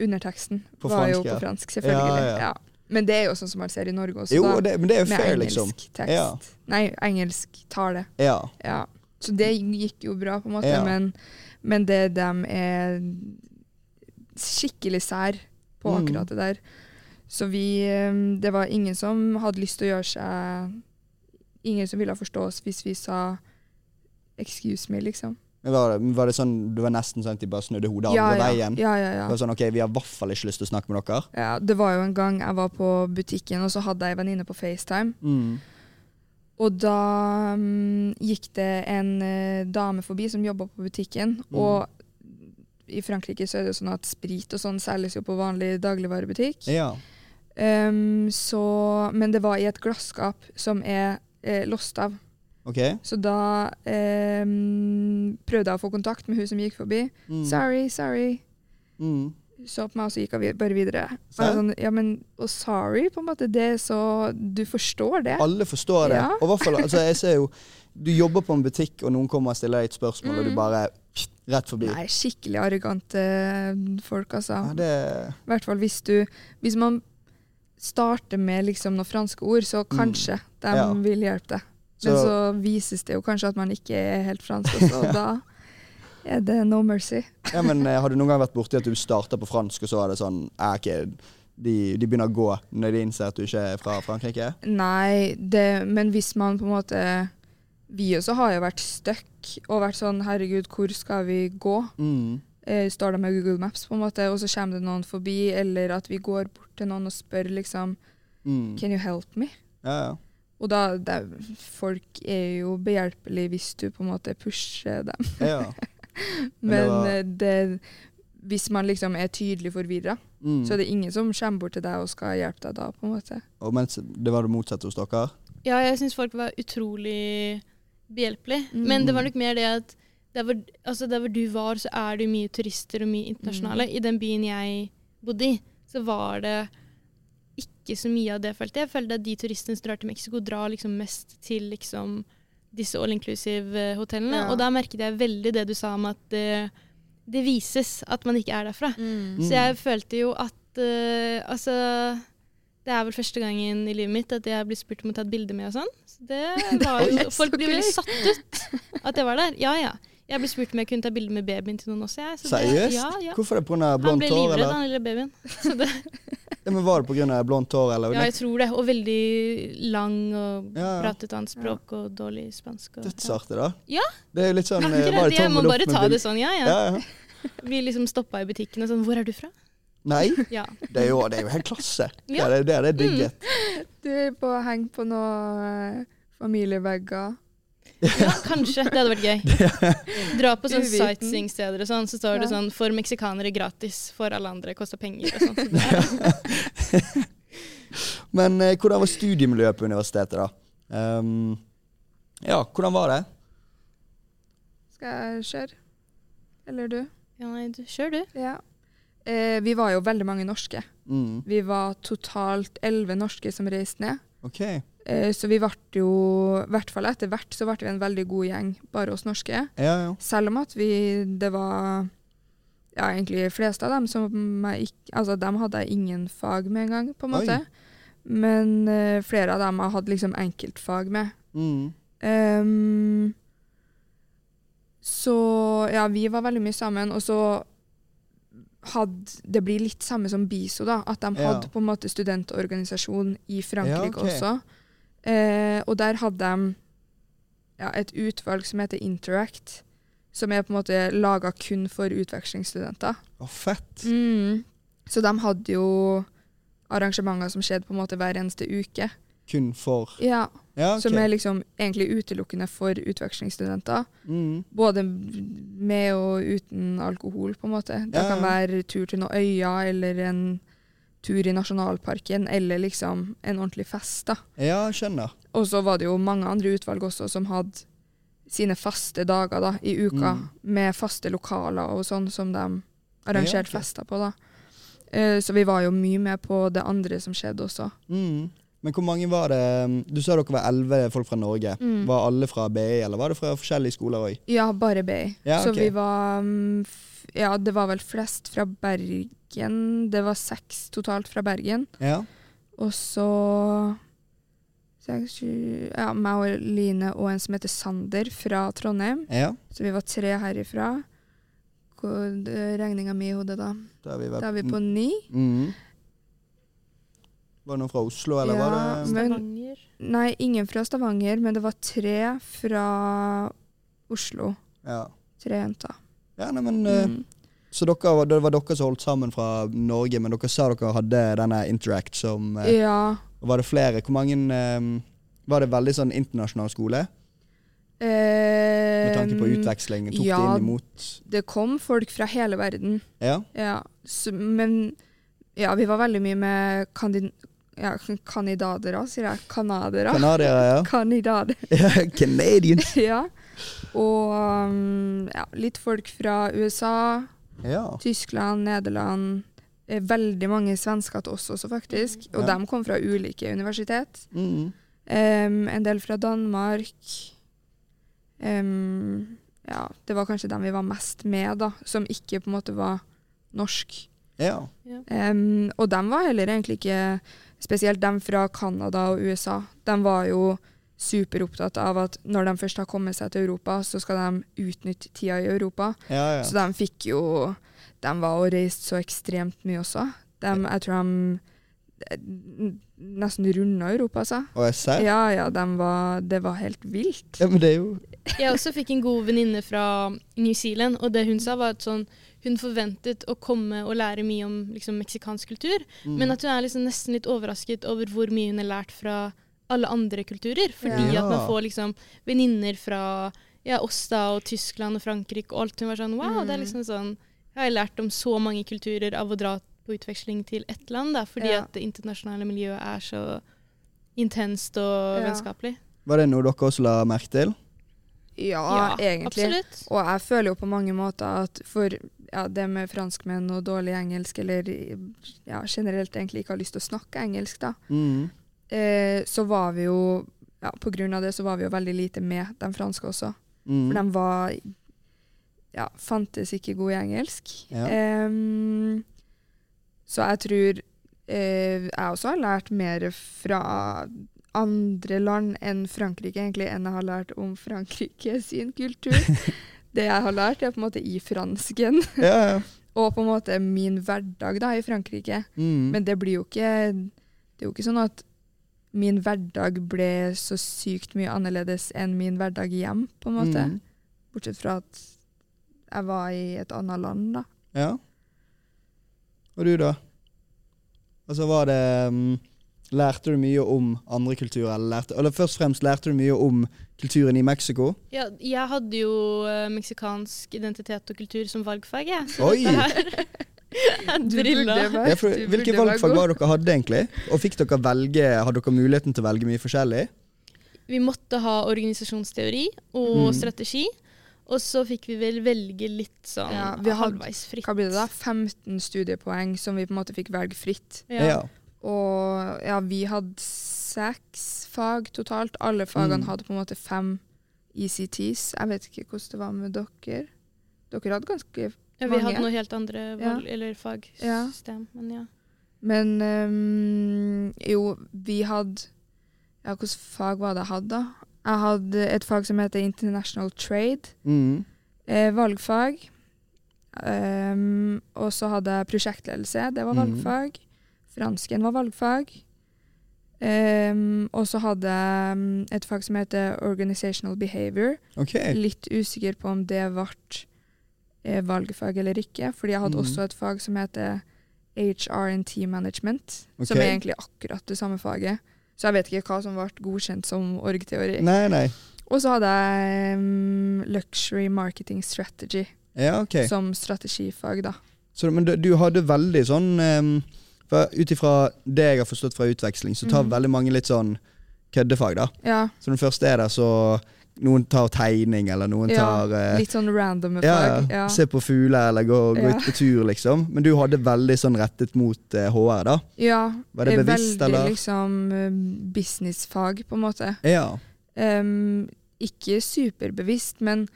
Underteksten På var fransk, jo på ja. fransk, selvfølgelig. Ja, ja. Ja, Men det er jo sånn som man ser i Norge også. Jo, da. og det, men det er jo Med fair, engelsk liksom. tekst. Ja. Nei, engelsk tale. Ja. Ja. Så det gikk jo bra, på en måte, Ja. men, men det dem er skikkelig sær på Mm. akkurat det der. Så vi eh, Det var ingen som hadde lyst til å gjøre seg Ingen som ville forstå oss hvis vi sa 'excuse me', liksom. Men Var, det- var det sånn du var nesten sånn at de bare snudde hodet andre ja, ja, veien? ja, ja, ja. Det var sånn, ok, Vi har i hvert fall ikke lyst til å snakke med dere. Ja, det var jo en gang jeg var på butikken, og så hadde jeg en venninne på FaceTime. Mm. Og da mm, gikk det en eh, dame forbi som jobba på butikken. Mm. Og i Frankrike så er det jo sånn at sprit og sånn selges jo på vanlig dagligvarebutikk. Ja. Ehm, så, men det var i et glasskap som er eh, låst av. OK? Så da ehm, prøvde jeg å få kontakt med hun som gikk forbi. Mm. Sorry, sorry. Mm. så på meg, og så gikk jeg vi- bare videre. Og jeg Serr? sånn, ja, men, og sorry, på en måte, det er så Du forstår det? Alle forstår det. Ja. Og i hvert fall, altså, jeg ser jo, du jobber på en butikk, og noen kommer og stiller deg et spørsmål, Mm. og du bare pst, rett forbi. Nei, skikkelig arrogante folk, Ja, altså. det, I hvert fall hvis du Hvis man starter med liksom noen franske ord, så kanskje de Ja. vil hjelpe deg. Men så, vises det jo kanskje at man ikke er helt fransk også, og da er det no mercy. Ja, men eh, Har du noen gang vært borti at du starter på fransk, og så er det sånn eh, ok, de, de begynner å gå når de innser at du ikke er fra Frankrike? Nei, det, men hvis man på en måte Vi også har jo vært stuck og vært sånn herregud, hvor skal vi gå? Mm. Eh, står det med Google Maps, på en måte, og så kommer det noen forbi, eller at vi går bort til noen og spør liksom Mm. Can you help me? Ja, ja. Og da, det, folk er jo behjelpelige hvis du på en måte pusher dem. ja. Men det Men var- eh, det, hvis man liksom er tydelig forvirra, Mm. så er det ingen som kommer bort til deg og skal hjelpe deg da, på en måte. Og mens det var det motsatte hos dere? Ja, jeg syns folk var utrolig behjelpelige. Mm. Men det var nok mer det at der hvor, altså der hvor du var, så er det jo mye turister og mye internasjonale. Mm. I den byen jeg bodde i, så var det ikke så mye av det, følte jeg. Jeg følte at de turistene som drar til Mexico, drar liksom mest til liksom disse all inclusive-hotellene. Ja. Og da merket jeg veldig det du sa om at det, det vises at man ikke er derfra. Så jeg Mm. følte jo at eh, Altså, det er vel første gangen i livet mitt at jeg blir spurt om å ta et bilde med og sånn. Så det var jo Det er så Folk blir gøy. veldig satt ut at jeg var der. Ja, ja. Jeg ble spurt om jeg kunne ta bilde med babyen til noen også, jeg. Så det- Seriøst? Ja, ja. Hvorfor det? Pga. Han blondt ble hår? livredd, Eller? han lille babyen. Ja, men var det pga. blondt hår? Eller? Ja, jeg tror det. Og veldig lang og Ja, ja. pratet annet språk og dårlig spansk. Og, Dødsartig, da. Ja. Det er jo litt sånn eh, Akkurat, var det jeg må tommel opp bare med ta det bild- sånn, ja, ja. Ja, ja. Blir liksom stoppa i butikken og sånn 'Hvor er du fra?' Nei, Ja. det er jo, det er jo helt klasse. Ja. Ja. Det, er- det er Mm. det er digget. Du er på å henge på noen familievegger. Ja, kanskje. Det hadde vært gøy. Dra på sånne Uviten. sightseeingsteder og sånn, så står det Ja. sånn 'for meksikanere gratis, for alle andre koster penger' og sånn. Så det- Men eh, hvordan var studiemiljøet på universitetet, da? Ehm, ja, hvordan var det? Skal jeg kjøre? Eller du? Ja, nei, du, kjør du. Ja. Eh, vi var jo veldig mange norske. Mm. Vi var totalt elleve norske som reiste ned. OK. Eh, så vi ble jo, i hvert fall etter hvert, så ble vi en veldig god gjeng, bare oss norske. Ja, ja. Selv om at vi, det var ja, egentlig de fleste av dem som jeg ikke Altså, dem hadde jeg ingen fag med engang, på en måte. Oi. Men eh, flere av dem jeg hadde liksom enkeltfag med. Mm. Ehm, så ja, vi var veldig mye sammen, og så hadde Det blir litt samme som BISO, da. At de Ja. hadde på en måte studentorganisasjon i Frankrike Ja, ok. også. Eh, og der hadde de ja, et utvalg som heter Interact, som er på en måte laga kun for utvekslingsstudenter. Å, fett. Så de hadde jo arrangementer som skjedde på en måte hver eneste uke. Kun for Ja, Ja, OK. som er liksom egentlig utelukkende for utvekslingsstudenter. Mm. Både med og uten alkohol, på en måte. Det Ja, ja. kan være tur til noen øyer, eller en tur i nasjonalparken, eller liksom en ordentlig fest, da. Ja, skjønner. Og så var det jo mange andre utvalg også som hadde sine faste dager da, i uka, Mm. med faste lokaler og sånn som de arrangerte Ja, ok. fester på, da. Eh, Så vi var jo mye med på det andre som skjedde også. Mm. Men hvor mange var det Ehm, Du sa dere var elleve folk fra Norge. Mm. Var alle fra BI, eller var det fra forskjellige skoler òg? Ja, bare BI. Ja, Så ok. vi var mm, f- Ja, det var vel flest fra Bergen. Det var seks totalt fra Bergen. Ja. Og så seks, sju Ja, meg og Line og en som heter Sander fra Trondheim. ja. Så vi var tre herifra. Hvor- det- Regninga mi i hodet, da. Da er vi, vel- Da er vi på ni. mm. Var det noen fra Oslo, eller Ja, var det men- Stavanger. Nei, ingen fra Stavanger, men det var tre fra Oslo. Ja, Tre jenter. ja nei, men eh, Mm. Så dere, var- det var dere som holdt sammen fra Norge, men dere sa dere hadde denne Interact som eh, Ja. Var det flere? Hvor mange eh, Var det veldig sånn internasjonal skole? Med tanke på Ehm, utveksling? Tok ja. det inn imot Det kom folk fra hele verden. Ja? Ja, så, men ja, vi var veldig mye med kandin, ja, kandidater, sier jeg. Kanadere. Canadiere, ja. Kandidater, ja. Canadian. ja. Og um, ja, litt folk fra USA, Ja. Tyskland, Nederland. eh, Veldig mange svensker til oss også, faktisk. Og Ja. de kom fra ulike universitet. Mm. Em, en del fra Danmark. Em, ja, det var kanskje dem vi var mest med, da, som ikke på en måte var norsk. Ja. Em, og dem var heller egentlig ikke Spesielt dem fra Canada og USA. De var jo superopptatt av at når de først har kommet seg til Europa, så skal de utnytte tida i Europa. Ja, ja. Så de fikk jo De var og reiste så ekstremt mye også. De, jeg tror de n- nesten runda Europa, altså. Og jeg ser. Ja. Ja, ja, de var, det var helt vilt. men det er jo Jeg også fikk en god venninne fra New Zealand, og det hun sa var at sånn, hun forventet å komme og lære mye om liksom, meksikansk kultur, mm. Mm. men at hun er liksom nesten litt overrasket over hvor mye hun har lært fra alle andre kulturer. Fordi Ja. at man får liksom, venninner fra ja, oss da, og Tyskland og Frankrike og alt. Hun var sånn wow, Mm. det er liksom sånn Jeg har lært om så mange kulturer av å dra på utveksling til ett land, da, fordi Ja. at det internasjonale miljøet er så intenst og Ja. vennskapelig. Var det noe dere også la merke til? Ja, Ah, egentlig. Absolutt. Og jeg føler jo på mange måter at for ja, det med franskmenn og dårlig engelsk, eller ja, generelt egentlig ikke har lyst til å snakke engelsk, da, Mm. eh, så var vi jo ja, På grunn av det så var vi jo veldig lite med de franske også. Mm. For de var Ja, fantes ikke gode i engelsk. Ja. Em, så jeg tror eh, jeg også har lært mer fra andre land enn Frankrike, egentlig, enn jeg har lært om Frankrike sin kultur. det jeg har lært, er på en måte i fransken, Ja, ja. og på en måte min hverdag da, i Frankrike. Mm. Men det blir jo ikke Det er jo ikke sånn at min hverdag ble så sykt mye annerledes enn min hverdag hjem, på en måte. Mm. Bortsett fra at jeg var i et annet land, da. Ja. Og du, da? Altså, var det mm, Lærte du mye om andre kulturer? Eller, lærte, eller først og fremst, lærte du mye om kulturen i Mexico? Ja, jeg hadde jo eh, meksikansk identitet og kultur som valgfag, jeg. Så Oi! dette her er drilla. Ja, for, hvilke valgfag var dere hadde egentlig? Og fikk dere velge, Hadde dere muligheten til å velge mye forskjellig? Vi måtte ha organisasjonsteori og Mm. strategi. Og så fikk vi vel velge litt sånn Ja, vi hadde- halvveis fritt. Hva blir det da? 15 studiepoeng som vi på en måte fikk velge fritt. Ja. Og ja, vi hadde seks fag totalt. Alle fagene Mm. hadde på en måte fem ECTs. Jeg vet ikke hvordan det var med dere. Dere hadde ganske Ja, vi mange. hadde noe helt andre valg, eller Ja. fagsystem. Men ja. Men ehm, jo, vi hadde Ja, hvilket fag var det jeg hadde, da? Jeg hadde et fag som heter International Trade. Mm. Eh, valgfag. Ehm, og så hadde jeg prosjektledelse, det var Mhm. valgfag. Fransken var valgfag. Ehm, og så hadde jeg mm, et fag som heter organizational behavior. Ok. Litt usikker på om det ble eh, valgfag eller ikke, fordi jeg hadde Mhm. også et fag som heter HRNT management, som Ok. er egentlig akkurat det samme faget. Så jeg vet ikke hva som ble godkjent som org-teori. Nei, nei. Og så hadde jeg mm, luxury marketing strategy Ja, ok. Så, som strategifag, da. men du, du hadde veldig sånn em, for Ut ifra det jeg har forstått fra utveksling, så tar Mhm. veldig mange litt sånn køddefag, da. Ja, Så når du først er der, så Noen tar tegning, eller noen Ja, tar eh, Litt sånn randome ja, fag. Ja. Se på fugler, eller gå, gå Ja. ut på tur, liksom. Men du hadde veldig sånn rettet mot eh, HR, da. ja. Var det eh, bevisst, veldig eller? liksom eh, businessfag, på en måte. Ja. Em, ikke superbevisst, men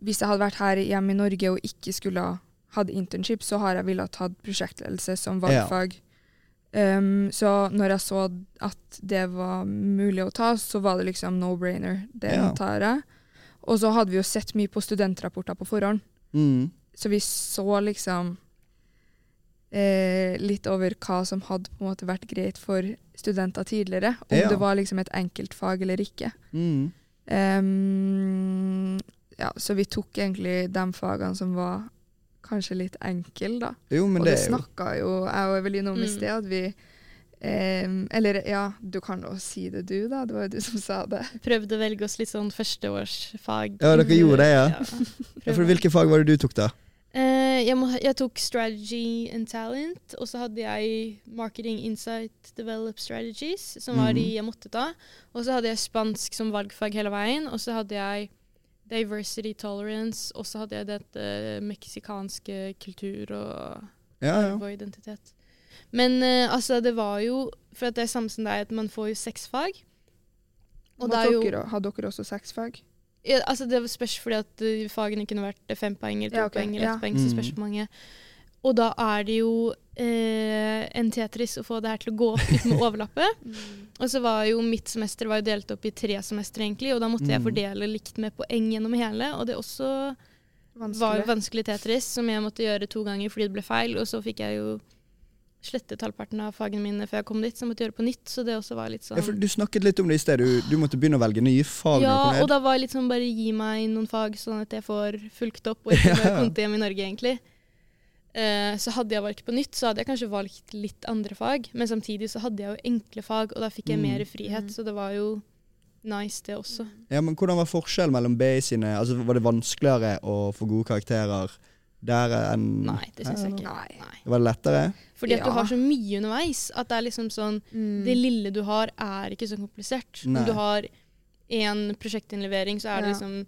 hvis jeg hadde vært her hjemme i Norge og ikke skulle ha hatt internship, så har jeg ville ha tatt prosjektledelse som Ja. valgfag. Em, så når jeg så at det var mulig å ta, så var det liksom no-brainer. Det Ja. tar jeg. Og så hadde vi jo sett mye på studentrapporter på forhånd, Mm. så vi så liksom eh, litt over hva som hadde på en måte vært greit for studenter tidligere. Om Ja. det var liksom et enkeltfag eller ikke. Mm. Ehm, ja, så vi tok egentlig de fagene som var kanskje litt enkle, da. Jo, men og det, det er jo snakka jo jeg og Eveline om i Mm. sted, at vi ehm, Eller ja, du kan jo si det du, da. Det var jo du som sa det. Prøvde å velge oss litt sånn førsteårsfag. Ja, dere gjorde det, ja. ja, for prøvde. Hvilke fag var det du tok, da? Eh, jeg, må, jeg tok strategy and talent, og så hadde jeg marketing insight develop strategies, som var de Mhm. jeg måtte ta. Og så hadde jeg spansk som valgfag hele veien, og så hadde jeg diversity tolerance, og så hadde jeg dette meksikanske kultur og Ja, ja. arv og identitet. Men eh, altså, det var jo For at det er samme som deg, at man får jo seks fag. Og det er jo dere, Har dere også seks fag? ja, altså det spørs fordi at eh, fagene kunne vært eh, fem poeng eller to Ja, ok. poeng eller Ja. ett poeng, så spørs Mm. hvor mange. Og da er det jo eh, en Tetris å få det her til å gå opp uten å overlappe. Og så var jo mitt semester var jo delt opp i tre semestre, egentlig, og da måtte jeg Mm. fordele likt med poeng gjennom hele. Og det også var jo Vanskelig. vanskelig Tetris, som jeg måtte gjøre to ganger fordi det ble feil. Og så fikk jeg jo slettet halvparten av fagene mine før jeg kom dit, så jeg måtte gjøre på nytt. Så det også var litt sånn Ja, for du snakket litt om det i sted. Du, du måtte begynne å velge nye fag. ja, når du kom ned. og da var jeg litt sånn bare gi meg noen fag, sånn at jeg får fulgt opp og ikke bare Ja. konte hjem i Norge, egentlig. Eh, så hadde jeg valgt på nytt, så hadde jeg kanskje valgt litt andre fag. Men samtidig så hadde jeg jo enkle fag, og da fikk jeg Mm. mer frihet, Mm. så det var jo nice, det også. Ja, men Hvordan var forskjellen mellom BI sine Altså Var det vanskeligere å få gode karakterer der enn Nei, det syns jeg ikke. Nei. Nei. Var det lettere? Fordi at Ja. du har så mye underveis at det er liksom sånn Mm. Det lille du har, er ikke så komplisert. Nei. Om du har én prosjektinnlevering, så er det Ja. liksom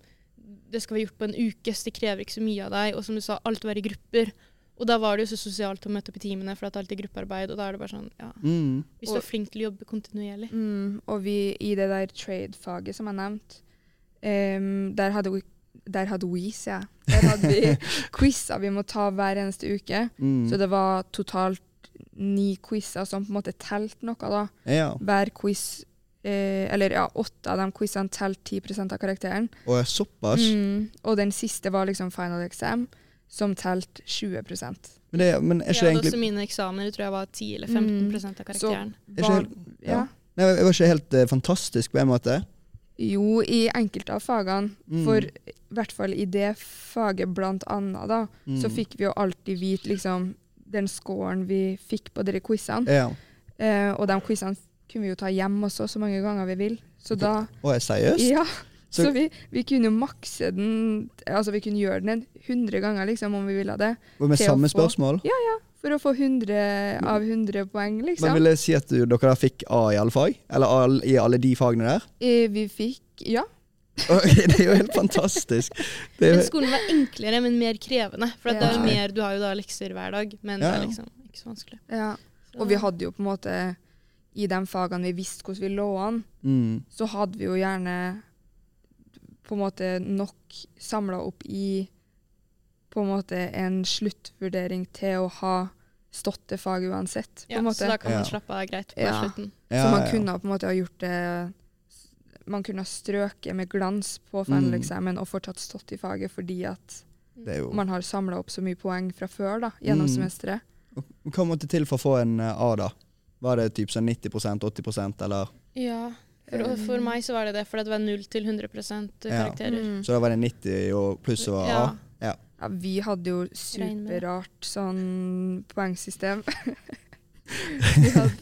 Det skal være gjort på en uke, så det krever ikke så mye av deg. Og som du sa, alt var i grupper. Og da var det jo så sosialt å møte opp i timene, for at det er alltid gruppearbeid. Og da er det bare sånn, ja Mm. Hvis du Og- er flink til å jobbe kontinuerlig. Mm, og vi i det der trade-faget som jeg nevnte, em, der hadde vi der hadde vi, sier jeg. Der hadde vi quizer vi må ta hver eneste uke. Mm. Så det var totalt ni quizer som på en måte telte noe, da. Ja. Hver quiz eh, Eller ja, åtte av de quizene telte 10 av karakteren. Og såpass? Mm, og den siste var liksom final exam, som telte 20 Men, det, men er Jeg ikke det hadde også egentlig mine eksamener, tror jeg var 10 eller Mm. 15 prosent av karakteren. ikke Var, ja. ja. Nei, Det var ikke helt eh, fantastisk på en måte? Jo, i enkelte av fagene. Mm. For i hvert fall i det faget, blant annet, da, Mm. så fikk vi jo alltid vite liksom, den scoren vi fikk på de quizene. Ja. Eh, og de quizene kunne vi jo ta hjem også, så mange ganger vi vil. Så da Å, er det seriøst? Ja. Så- Så, vi, vi kunne jo makse den Altså, vi kunne gjøre den 100 ganger, liksom, om vi ville det. Og med til å samme få- spørsmål? For å få 100 av 100 poeng, Men liksom. vil det si at du, dere da fikk A i alle fag? Eller all, i alle de fagene der? Eh, vi fikk Ja. Ok, det er jo helt fantastisk. Det Eh, er Men jo, skolen var enklere, men mer krevende. For at det er Ja. jo mer, du har jo da lekser hver dag, men Ja, det er ja. liksom ikke så vanskelig. ja. Så- Og vi hadde jo på en måte I de fagene vi visste hvordan vi lå an, mm. så hadde vi jo gjerne på en måte nok samla opp i på en måte en sluttvurdering til å ha stått det faget uansett. på ja, en Så måte. da kan man Ja. slappe av greit på Ja. slutten. ja, så man ja. kunne på en måte ha gjort det Man kunne ha strøket med glans på Mm. finaleksamen og fortsatt stått i faget fordi at Det er jo man har samla opp så mye poeng fra før da, gjennom Oh. Mm. semesteret. Hva måtte til for å få en eh, A, da? Var det typ sånn 90 80 eller Mm. Ja, for, og for meg så var det det, for det var 0 til 100 karakterer. Mm. Så da var det 90 og pluss og A? Ja. Ja, vi hadde jo Regn med det. superrart sånn poengsystem. vi hadde,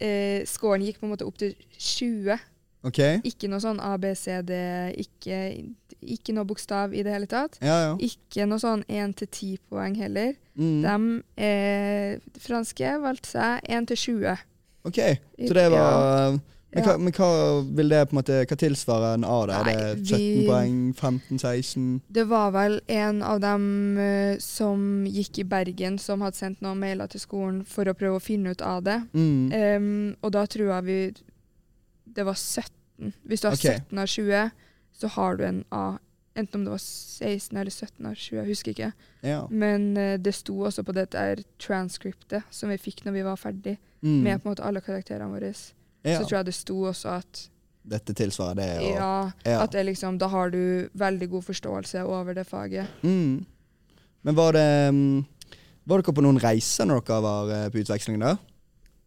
eh, scoren gikk på en måte opp til 20. OK? Ikke noe sånn A, B, C, D, ikke, ikke noe bokstav i det hele tatt. Ja, ja. Ikke noe sånn 1 til 10 poeng heller. Mm. De eh, franske valgte seg 1 til 20. OK, så det var Men, hva, Ja. men hva vil det på en måte Hva tilsvarer en A, da? er Nei, det 17 vi- poeng? 15-16? Det var vel en av dem eh, som gikk i Bergen, som hadde sendt noen mailer til skolen for å prøve å finne ut av det. Mm. Ehm, og da tror jeg vi Det var 17. Hvis du har Ok. 17 av 20, så har du en A. Enten om det var 16 eller 17 av 20, jeg husker ikke. Ja. Men eh, det sto også på det der transcriptet som vi fikk når vi var ferdig Mm. med på en måte alle karakterene våre. ja. Så tror jeg det sto også at Dette tilsvarer det og ja, Ja. at det liksom, da har du veldig god forståelse over det faget. Mm. Men var det mm, Var dere på noen reiser når dere var eh, på utveksling da?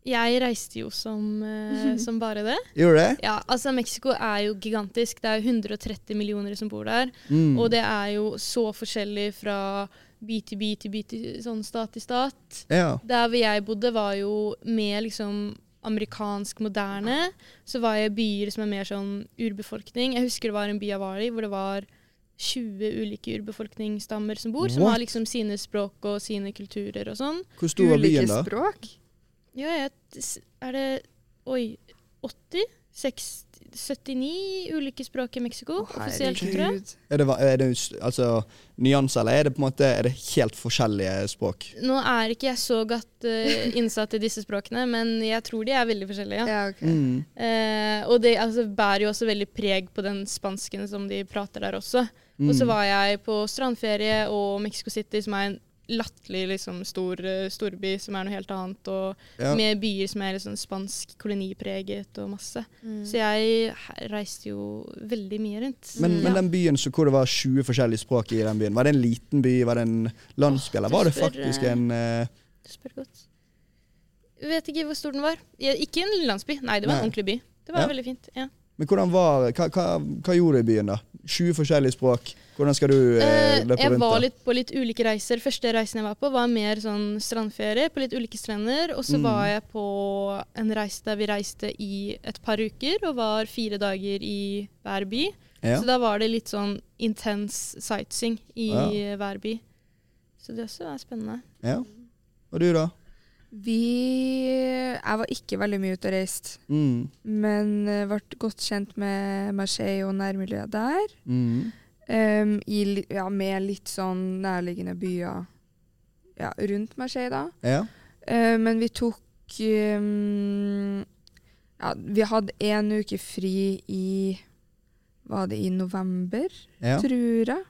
Jeg reiste jo som, eh, som bare det. Gjorde dere det? Ja, altså Mexico er jo gigantisk. Det er jo 130 millioner som bor der. Mm. Og det er jo så forskjellig fra by til by til by til sånn stat til stat. Ja. Der hvor jeg bodde, var jo mer liksom amerikansk moderne. Så var jeg i byer som er mer sånn urbefolkning. Jeg husker det var en by jeg var i hvor det var 20 ulike urbefolkningsstammer som bor, som What? har liksom sine språk og sine kulturer og sånn. Hvor stor var Ulike byen da? språk. Ja, jeg, er det Oi, 80? 60, 79 ulike språk i Mexico, offisielt, tror jeg. herregud. Er det, va- er det s- altså, nyanser, eller er det på en måte Er det helt forskjellige språk? Nå er ikke jeg så godt eh, innsatt i disse språkene, men jeg tror de er veldig forskjellige. Ja, ok. Mm. Eh, og det altså, bærer jo også veldig preg på den mm, spansken som de prater der også. Og så var jeg på strandferie og Mexico City, som er en latterlig liksom, stor eh, storby som er noe helt annet, og Ja. med byer som er litt sånn spansk kolonipreget og masse. Mm. Så jeg he- reiste jo veldig mye rundt. Men, Mm. men Ja. den byen så, hvor det var 20 forskjellige språk i den byen, var det en liten by, var det en landsby, eller du var det spør, faktisk eh, en eh, Du spør godt. Jeg Vet ikke hvor stor den var. Ja, ikke en landsby. Nei, det var en Nei. ordentlig by. Det var Ja. veldig fint. ja. Men hvordan var hva, hva, hva gjorde du i byen, da? 20 forskjellige språk. Hvordan skal du eh, Eh, løpe jeg rundt da? var litt på litt ulike reiser. Første reisen jeg var på, var mer sånn strandferie på litt ulike strender. Og så Mm. var jeg på en reise der vi reiste i et par uker og var fire dager i hver by. Ja. Så da var det litt sånn intens sightseeing i Ja. hver by. Så det også er spennende. ja. Og du, da? Vi Jeg var ikke veldig mye ute og reist, Mm. men eh, ble godt kjent med Marseille og nærmiljøet der. Mm. Em, i, li- ja, med litt sånn nærliggende byer ja, rundt Marseille, da. Ja. Eh, men vi tok em, ja, Vi hadde én uke fri i Var det i november, ja. tror jeg?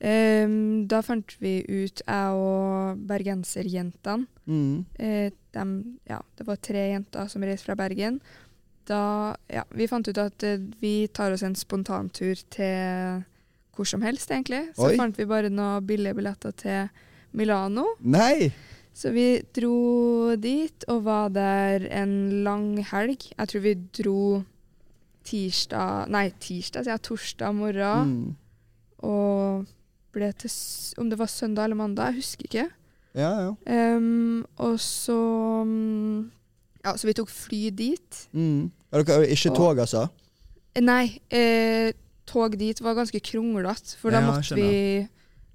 Em, da fant vi ut, jeg og bergenserjentene Mm. Eh, dem, ja, det var tre jenter som reiste fra Bergen. Da, ja, vi fant ut at eh, vi tar oss en spontantur til hvor som helst, egentlig. Så Oi. fant vi bare noen billige billetter til Milano. Nei! Så vi dro dit og var der en lang helg. Jeg tror vi dro tirsdag Nei, tirsdag, sier jeg. Torsdag morgen. Mm. Og ble til s- Om det var søndag eller mandag, jeg husker ikke. Ja, ja. Ehm, og så mm, Ja, så vi tok fly dit. Mm. Er dere ikke Og- tog, altså? Eh, Nei, eh, tog dit var ganske kronglete, for da Ja, måtte vi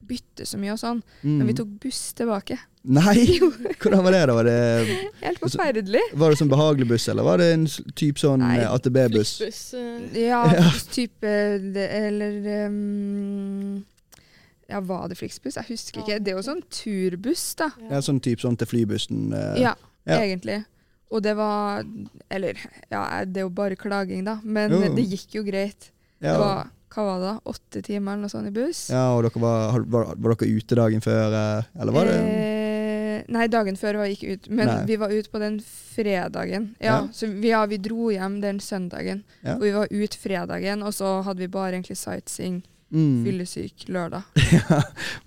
bytte så mye og sånn. Mm. Men vi tok buss tilbake. Nei! Hvordan var det, da? Var det, Helt Altså- forferdelig. var det sånn behagelig buss, eller var det en s- typ sånn Nei. eh, ATB-buss? Fluxbuss, eh, Ja, Ja. type det, Eller ehm, Ja, var det Flixbuss? Jeg husker ikke. Det er jo sånn turbuss, da. Ja, sånn typ sånn til flybussen? eh. Ja, Ja. egentlig. Og det var Eller, ja, det er jo bare klaging, da. Men Jo. det gikk jo greit. Ja. Det var, hva var det, da? åtte timer eller noe sånt i buss? ja, og dere var, har- var, var dere ute dagen før, eh, eller var det Eh, nei, dagen før var jeg ikke ute, men Nei. vi var ute på den fredagen. Ja, Ja. Så vi, ja, vi dro hjem den søndagen, Ja. og vi var ute fredagen, og så hadde vi bare egentlig sightseeing, mm. fyllesyk, lørdag.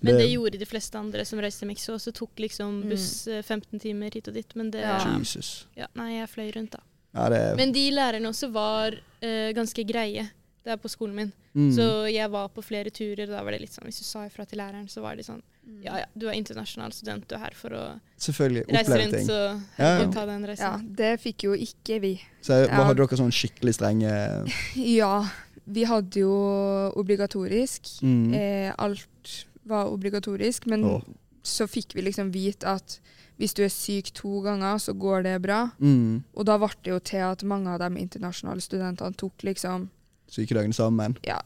Men det det- gjorde de fleste andre som reiste til Mexico. Så tok liksom Mm. buss eh, 15 timer hit og dit. Men det Ja. Jesus. ja, Nei, jeg fløy rundt, da. Ja, det Men de lærerne også var eh, ganske greie der på skolen min. mm. Så jeg var på flere turer, og da var det litt sånn Hvis du sa ifra til læreren, så var de sånn Mm. Ja ja, du er internasjonal student, du er her for å Selvfølgelig. reise Oppleve rundt, ting. så Ja, ja. herregud, ta den Ja, reisen. det fikk jo ikke vi. Så jeg- hva Ja. Hadde dere sånn skikkelig strenge Ja, vi hadde jo obligatorisk. mm. Eh, alt var obligatorisk, men Åh. så fikk vi liksom vite at hvis du er syk to ganger, så går det bra. mm. Og da ble det jo til at mange av de internasjonale studentene tok liksom sykedagene sammen? Ja,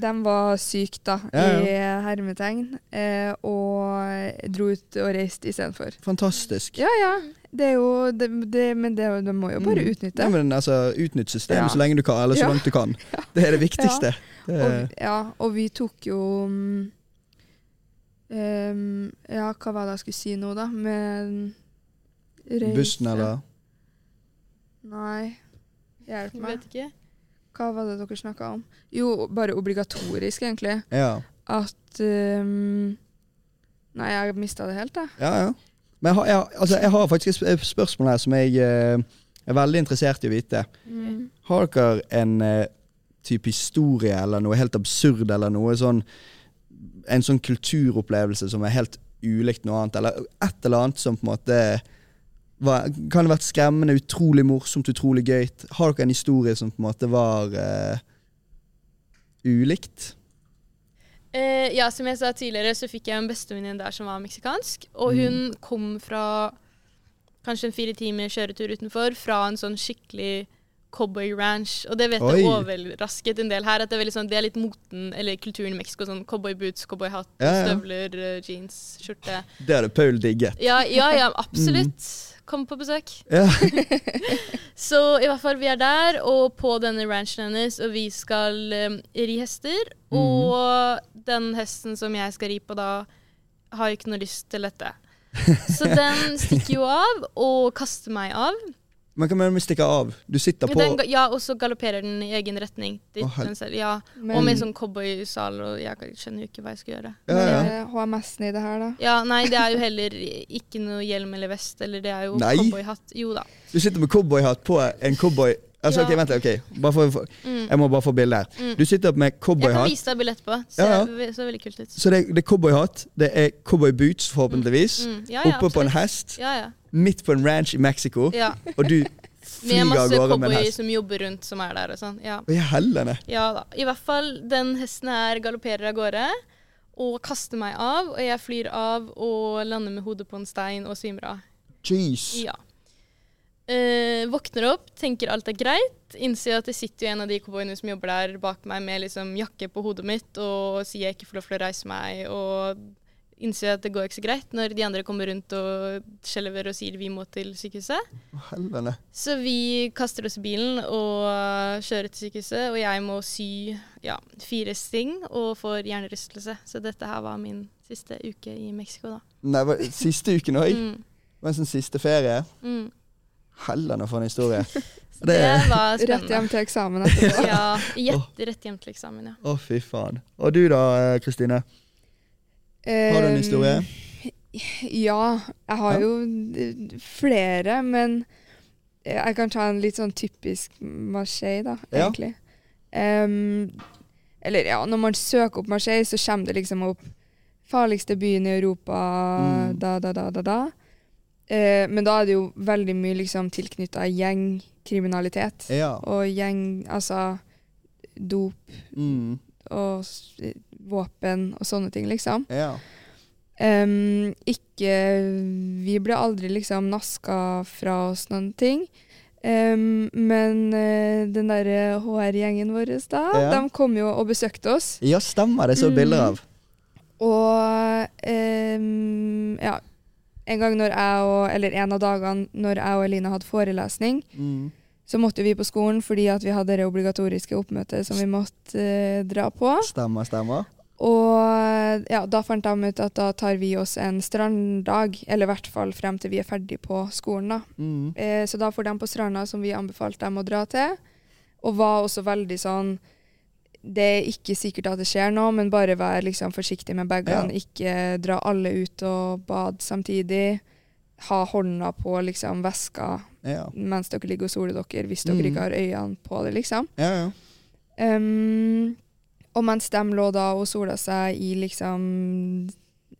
de var syke, da, Ja, i hermetegn, eh, og dro ut og reiste istedenfor. Fantastisk. Ja ja, det er jo det, det, Men det, er jo- de må jo bare Mm. utnytte. Nei, men altså, Utnytt systemet Ja. så lenge du kan, eller så Ja. langt du kan. Det er det viktigste. Det er, Og, ja, og vi tok jo mm, em, Ja, hva var det jeg skulle si nå, da? Med reise- bussen, eller Nei, hjelp Jeg meg. vet ikke. Hva var det dere snakka om? Jo, bare obligatorisk, egentlig. Ja, at ehm, Nei, jeg mista det helt, jeg. ja. ja. Men jeg har, jeg, har- altså, jeg har faktisk et sp- et spørsmål her som jeg eh, er veldig interessert i å vite. Mm. Har dere en eh, type historie eller noe helt absurd eller noe sånn En sånn kulturopplevelse som er helt ulikt noe annet, eller et eller annet som på en måte var, kan ha vært skremmende, utrolig morsomt, utrolig gøy. Har dere en historie som på en måte var eh, ulikt? Eh, ja, som jeg sa tidligere, så fikk jeg en bestevenninne der som var meksikansk. Mm. Og hun kom fra kanskje en fire timer kjøretur utenfor, fra en sånn skikkelig cowboy ranch. Og det vet jeg Oi. overrasket en del her. At det er, veldig sånn, det er litt moten, eller kulturen i Mexico. Sånn cowboy boots, cowboy hatt, Ja, ja. støvler, eh, jeans, skjorte. Det hadde Paul digget. Ja, ja, ja Mm. absolutt. Kom på besøk. Ja. Så i hvert fall vi er der, og på denne ranchen hennes, og vi skal um, Mhm. eh, ri hester. Og den hesten som jeg skal ri på da, har ikke noe lyst til dette. Så den stikker jo av, og kaster meg av. Men hva mener du med stikke av? Du sitter på Den, ga- ja, og så galopperer den i egen retning. Dit, Å, hel- den selv, ja. Men, Og med sånn cowboysal, og jeg skjønner jo ikke hva jeg skal gjøre. ja, ja. men, eh, HMS-en i det her, da. Ja, nei, det er jo heller ikke noe hjelm eller vest, eller det er jo Nei. cowboyhatt. Jo da. Du sitter med cowboyhatt på en cowboy... Altså, Ja. ok, Vent litt. ok. Bare for, for, Mm. jeg må bare få bilde her. Mm. Du sitter med Jeg kan cowboyhatt. vise deg bildet etterpå. Ser, Ja, ja. ve- ser veldig kult ut. Så det, det er cowboyhatt, det er cowboyboots, forhåpentligvis. Mm. Ja, ja, Oppe på en absolutt. hest, Ja, ja. midt på en ranch i Mexico, ja. og du Med flyr av gårde masse med en cowboyer hest. som jobber rundt, som er der og sånn. Ja. Å, i helvete. ja da. I hvert fall, den hesten her galopperer av gårde og kaster meg av, og jeg flyr av og lander med hodet på en stein og svimer av. Jeez. Ja. Eh, våkner opp, tenker alt er greit. Innser at det sitter jo en av de cowboyene som jobber der bak meg med liksom jakke på hodet mitt og sier jeg ikke får lov til å reise meg. Og innser at det går ikke så greit når de andre kommer rundt og skjelver og sier vi må til sykehuset. Å, helvete. Så vi kaster oss i bilen og kjører til sykehuset, og jeg må sy ja, fire sting og får hjernerystelse. Så dette her var min siste uke i Mexico, da. Nei, hva- siste uken òg? Mm, Mens den siste ferie? mm. Helvete, for en historie. Så det Det- var Rett spennende. hjem til eksamen etterpå. Ja, gjett rett hjem til eksamen, ja. Å, fy faen. Og du da, eh, Kristine? Har Ehm, du en historie? Ja, jeg har Ja. jo eh, flere, men eh, jeg kan ta en litt sånn typisk Marseille, da, Ja. egentlig. Em, eller ja, når man søker opp Marseille, så kommer det liksom opp farligste byen i Europa, Mm. da, da, da, da, da. Eh, men da er det jo veldig mye liksom tilknytta gjengkriminalitet. Ja. Og gjeng, altså dop Mm. og s- våpen og sånne ting, liksom. Ja. Ehm, ikke Vi ble aldri liksom naska fra oss noen ting. Ehm, men eh, den der HR-gjengen vår da, Ja. de kom jo og besøkte oss. ja, stemmer. Det så jeg Mm. bilder av. Og ehm, ja, en gang når jeg og, eller en av dagene når jeg og Elina hadde forelesning, Mm. så måtte vi på skolen fordi at vi hadde det obligatoriske oppmøtet som vi måtte eh, dra på. Stemmer, stemmer. Og ja, da fant de ut at da tar vi oss en stranddag, eller i hvert fall frem til vi er ferdig på skolen. da. Mm. Eh, så da for dem på stranda som vi anbefalte dem å dra til, og var også veldig sånn Det er ikke sikkert at det skjer noe, men bare vær liksom forsiktig med bagene. Ikke dra alle ut og bade samtidig. Ha hånda på liksom veska Ja. mens dere ligger og soler dere, hvis dere Mm. ikke har øynene på det, liksom. Ja, ja. Ehm, og mens de lå da og sola seg i liksom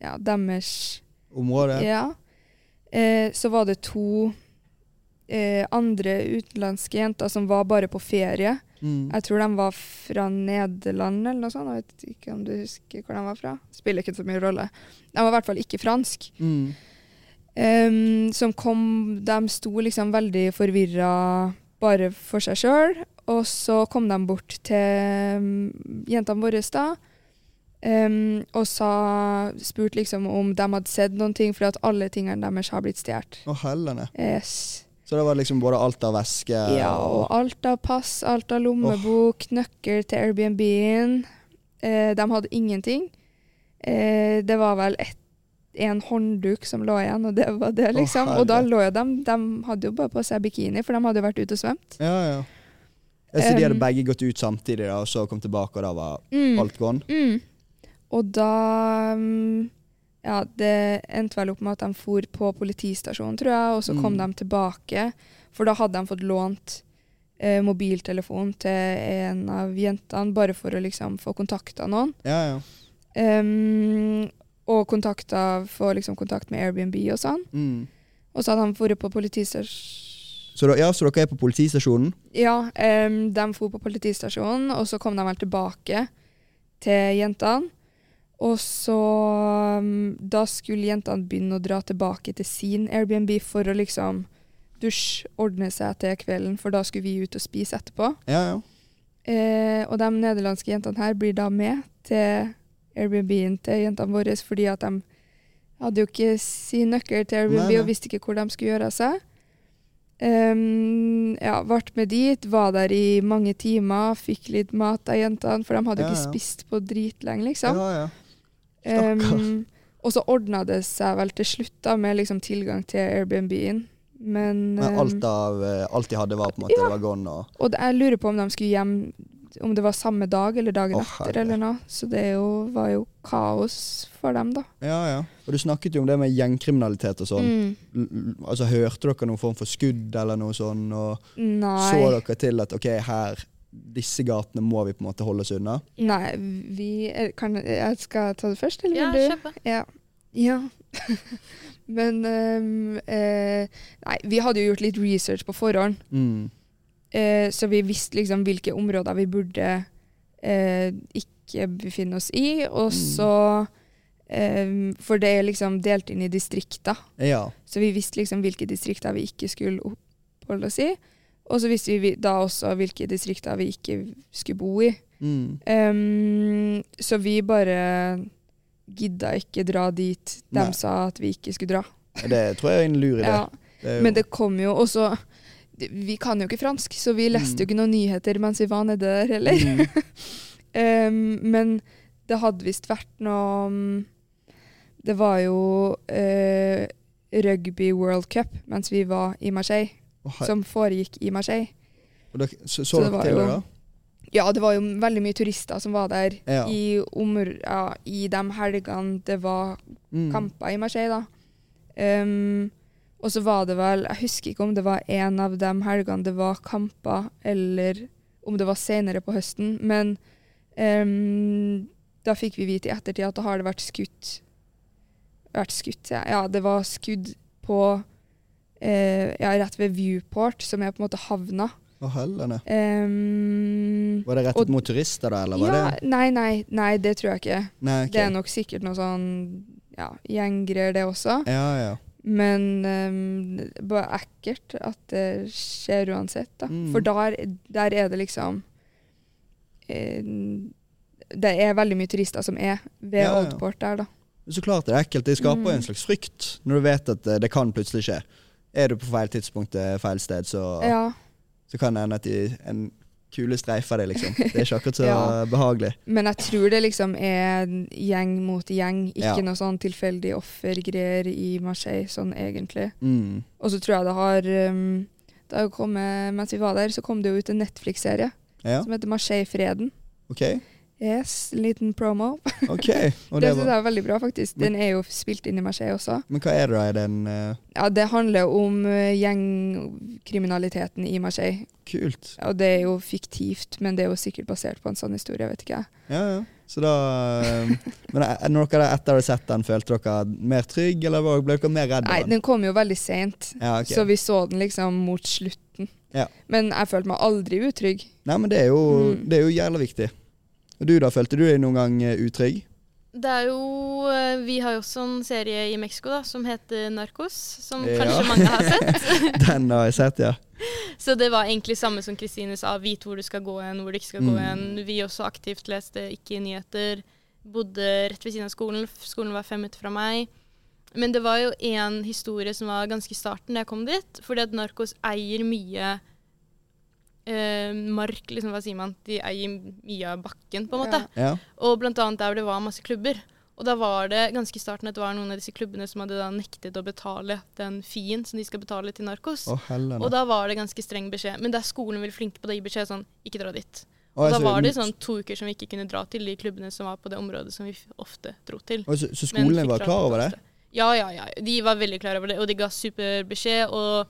ja, deres Området. Ja. eh, så var det to eh, andre utenlandske jenter som var bare på ferie. Mm. Jeg tror de var fra Nederland eller noe sånt. Jeg vet ikke om du husker hvor de var fra. Spiller ikke så mye rolle. De var i hvert fall ikke fransk. Mm. Ehm, som kom De sto liksom veldig forvirra bare for seg sjøl. Og så kom de bort til mm, jentene våre da ehm, og sa, spurte liksom om de hadde sett noen ting, for at alle tingene deres har blitt stjålet. Å, helvene. Yes. Så det var liksom både alt av væske Ja, og alt av pass, alt av lommebok, nøkkel til Airbnb-en. Eh, de hadde ingenting. Eh, det var vel ett en håndduk som lå igjen, og det var det, Å, liksom. og da herre. lå jo de De hadde jo bare på seg bikini, for de hadde jo vært ute og svømt. Ja, ja. Ja, Så de hadde Um, begge gått ut samtidig, da, og så kom tilbake, og da var Mm. alt gone? Mm. Og da mm, Ja, det endte vel opp med at de for på politistasjonen, tror jeg, og så kom de Mm. tilbake. For da hadde de fått lånt eh, mobiltelefon til en av jentene, bare for å liksom få kontakta noen. Ja, ja. Ehm, og kontakta, få liksom kontakt med Airbnb og sånn. Mm. Og så hadde de for på politistasjonen Så, da, ja, så dere er på politistasjonen? Ja, em, de for på politistasjonen, og så kom de vel tilbake til jentene. Og så em, Da skulle jentene begynne å dra tilbake til sin Airbnb for å liksom dusje, ordne seg til kvelden, for da skulle vi ut og spise etterpå. Ja, ja. Eh, og de nederlandske jentene her blir da med til Airbnb-en til jentene våre, fordi at de hadde jo ikke sin nøkkel til Airbnb Nei, nei. og visste ikke hvor de skulle gjøre av seg. Em, ja, ble med dit, var der i mange timer, fikk litt mat av jentene, for de hadde jo Ja, ikke ja. spist på dritlenge, liksom. ja, ja. Em, stakkar. Og så ordna det seg vel til slutt da, med liksom tilgang til Airbnb-en. Men, Men eh, alt, av, eh, alt de hadde, var på en måte det var gone. Og, Og det- jeg lurer på om de skulle hjem om det var samme dag eller dagen Å, etter. herre. eller noe. Så det er jo, var jo kaos for dem, da. ja, ja. og du snakket jo om det med gjengkriminalitet og sånn. Mm. L- l- Altså, Hørte dere noen form for skudd eller noe sånn? Og så Nei. dere til at ok, her, disse gatene må vi på en måte holde oss unna? Nei, vi er- kan, Jeg skal ta det først, eller Ja, vil du? kjøp det. Ja. ja. Men ehm, eh, Nei, vi hadde jo gjort litt research på forhånd, Mm. eh, så vi visste liksom hvilke områder vi burde eh, ikke befinne oss i. Og Mm. så ehm, For det er liksom delt inn i distrikter. Ja. Så vi visste liksom hvilke distrikter vi ikke skulle oppholde oss i. Og så visste vi da også hvilke distrikter vi ikke skulle bo i. Mm. Ehm, så vi bare gidda ikke dra dit de Nei. sa at vi ikke skulle dra. Det tror jeg er en lur idé. Ja, Det er jo- men det kom jo også Vi kan jo ikke fransk, så vi leste jo ikke noen nyheter mens vi var nede der heller. Mm. Ehm, men det hadde visst vært noe mm, Det var jo eh, Rugby World Cup mens vi var i Marseille, Og her- som foregikk i Marseille. og dere, så, så, så det dere var til jo- det, da? Ja, det var jo veldig mye turister som var der Ja. i, omr- ja, i de helgene det var Mm. kamper i Marseille, da. Ehm, og så var det vel Jeg husker ikke om det var en av de helgene det var kamper, eller om det var senere på høsten, men ehm, da fikk vi vite i ettertid at da har det vært skutt Vært skutt, ja. ja det var skudd på eh, Ja, rett ved Viewport, som er på en måte havna. Å, hellene. Ehm, Var det rettet Og- mot turister, da? eller var ja, det? nei, nei, nei, det tror jeg ikke. Nei, ok. Det er nok sikkert noe sånn ja, gjenggreier, det også. Ja, ja. Men ehm, bare ekkelt at det skjer uansett, da. Mm. For der, der er det liksom eh, Det er veldig mye turister som er ved Ja, ja. Oldport der, da. Men Så klart det er ekkelt. Det skaper Mm. en slags frykt når du vet at eh, det kan plutselig skje. Er du på feil tidspunkt eh, feil sted, så, Ja. så kan det hende at de, en kule streifer deg, liksom. Det er ikke akkurat så Ja. behagelig. Men jeg tror det liksom er gjeng mot gjeng, ikke Ja. noe sånn tilfeldig offergreier i Marseille, sånn egentlig. Mm. Og så tror jeg det har ehm, det har jo kommet, Mens vi var der, så kom det jo ut en Netflix-serie Ja, som heter Marseille-freden. OK. Yes, liten promo. ok. Og det det synes var, jeg er veldig bra, faktisk. Den er jo spilt inn i Marseille også. men hva er det da i den eh, Ja, Det handler om eh, gjengkriminaliteten i Marseille. Kult. Og det er jo fiktivt, men det er jo sikkert basert på en sånn historie, vet ikke jeg. Ja, ja. Så da eh, Men eh, når dere etter å ha sett den, følte dere mer trygg, eller var- ble dere mer redd? Nei, av den? den kom jo veldig seint, Ja, ok. så vi så den liksom mot slutten. Ja. Men jeg følte meg aldri utrygg. Nei, men det er jo, Mm. det er jo jævla viktig. Og du da, følte du deg noen gang eh, utrygg? Det er jo eh, Vi har jo også en serie i Mexico da, som heter Narcos, som Ja. kanskje mange har sett. Den har jeg sett, ja. Så det var egentlig samme som Kristine sa, vit hvor du skal gå hen, hvor du ikke skal gå Mm. hen. Vi også aktivt leste ikke nyheter, bodde rett ved siden av skolen, f- skolen var fem minutter fra meg. Men det var jo en historie som var ganske i starten da jeg kom dit, fordi at Narcos eier mye eh, mark, liksom hva sier man, de eier mye av bakken på en måte. Ja. ja. Og blant annet der hvor det var masse klubber. Og da var det ganske i starten at det var noen av disse klubbene som hadde da nektet å betale den fien som de skal betale til narkos. Å, hellene. og da var det ganske streng beskjed. Men der skolen veldig flinke på det, gi beskjed sånn ikke dra dit. Å, Og jeg da så- var det sånn to uker som vi ikke kunne dra til de klubbene som var på det området som vi f- ofte dro til. Å, så, så Men skolen fikk var dra klar til over det? ofte. Ja, ja, ja. De var veldig klar over det, og de ga super beskjed. Og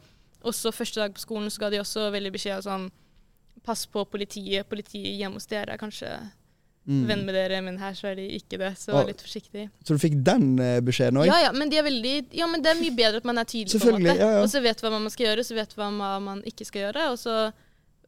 også første dag på skolen så ga de også veldig beskjed av sånn pass på politiet, politiet hjemme hos dere er kanskje venn Mm. med dere, men her så er de ikke det, så Ah. vær litt forsiktig. Så du fikk den eh, beskjeden òg? Ja, ja, men de er veldig, ja, men det er mye bedre at man er tydelig, på en Selvfølgelig, måte. ja, ja. Og så vet hva man skal gjøre, så vet hva ma- man ikke skal gjøre. Og så,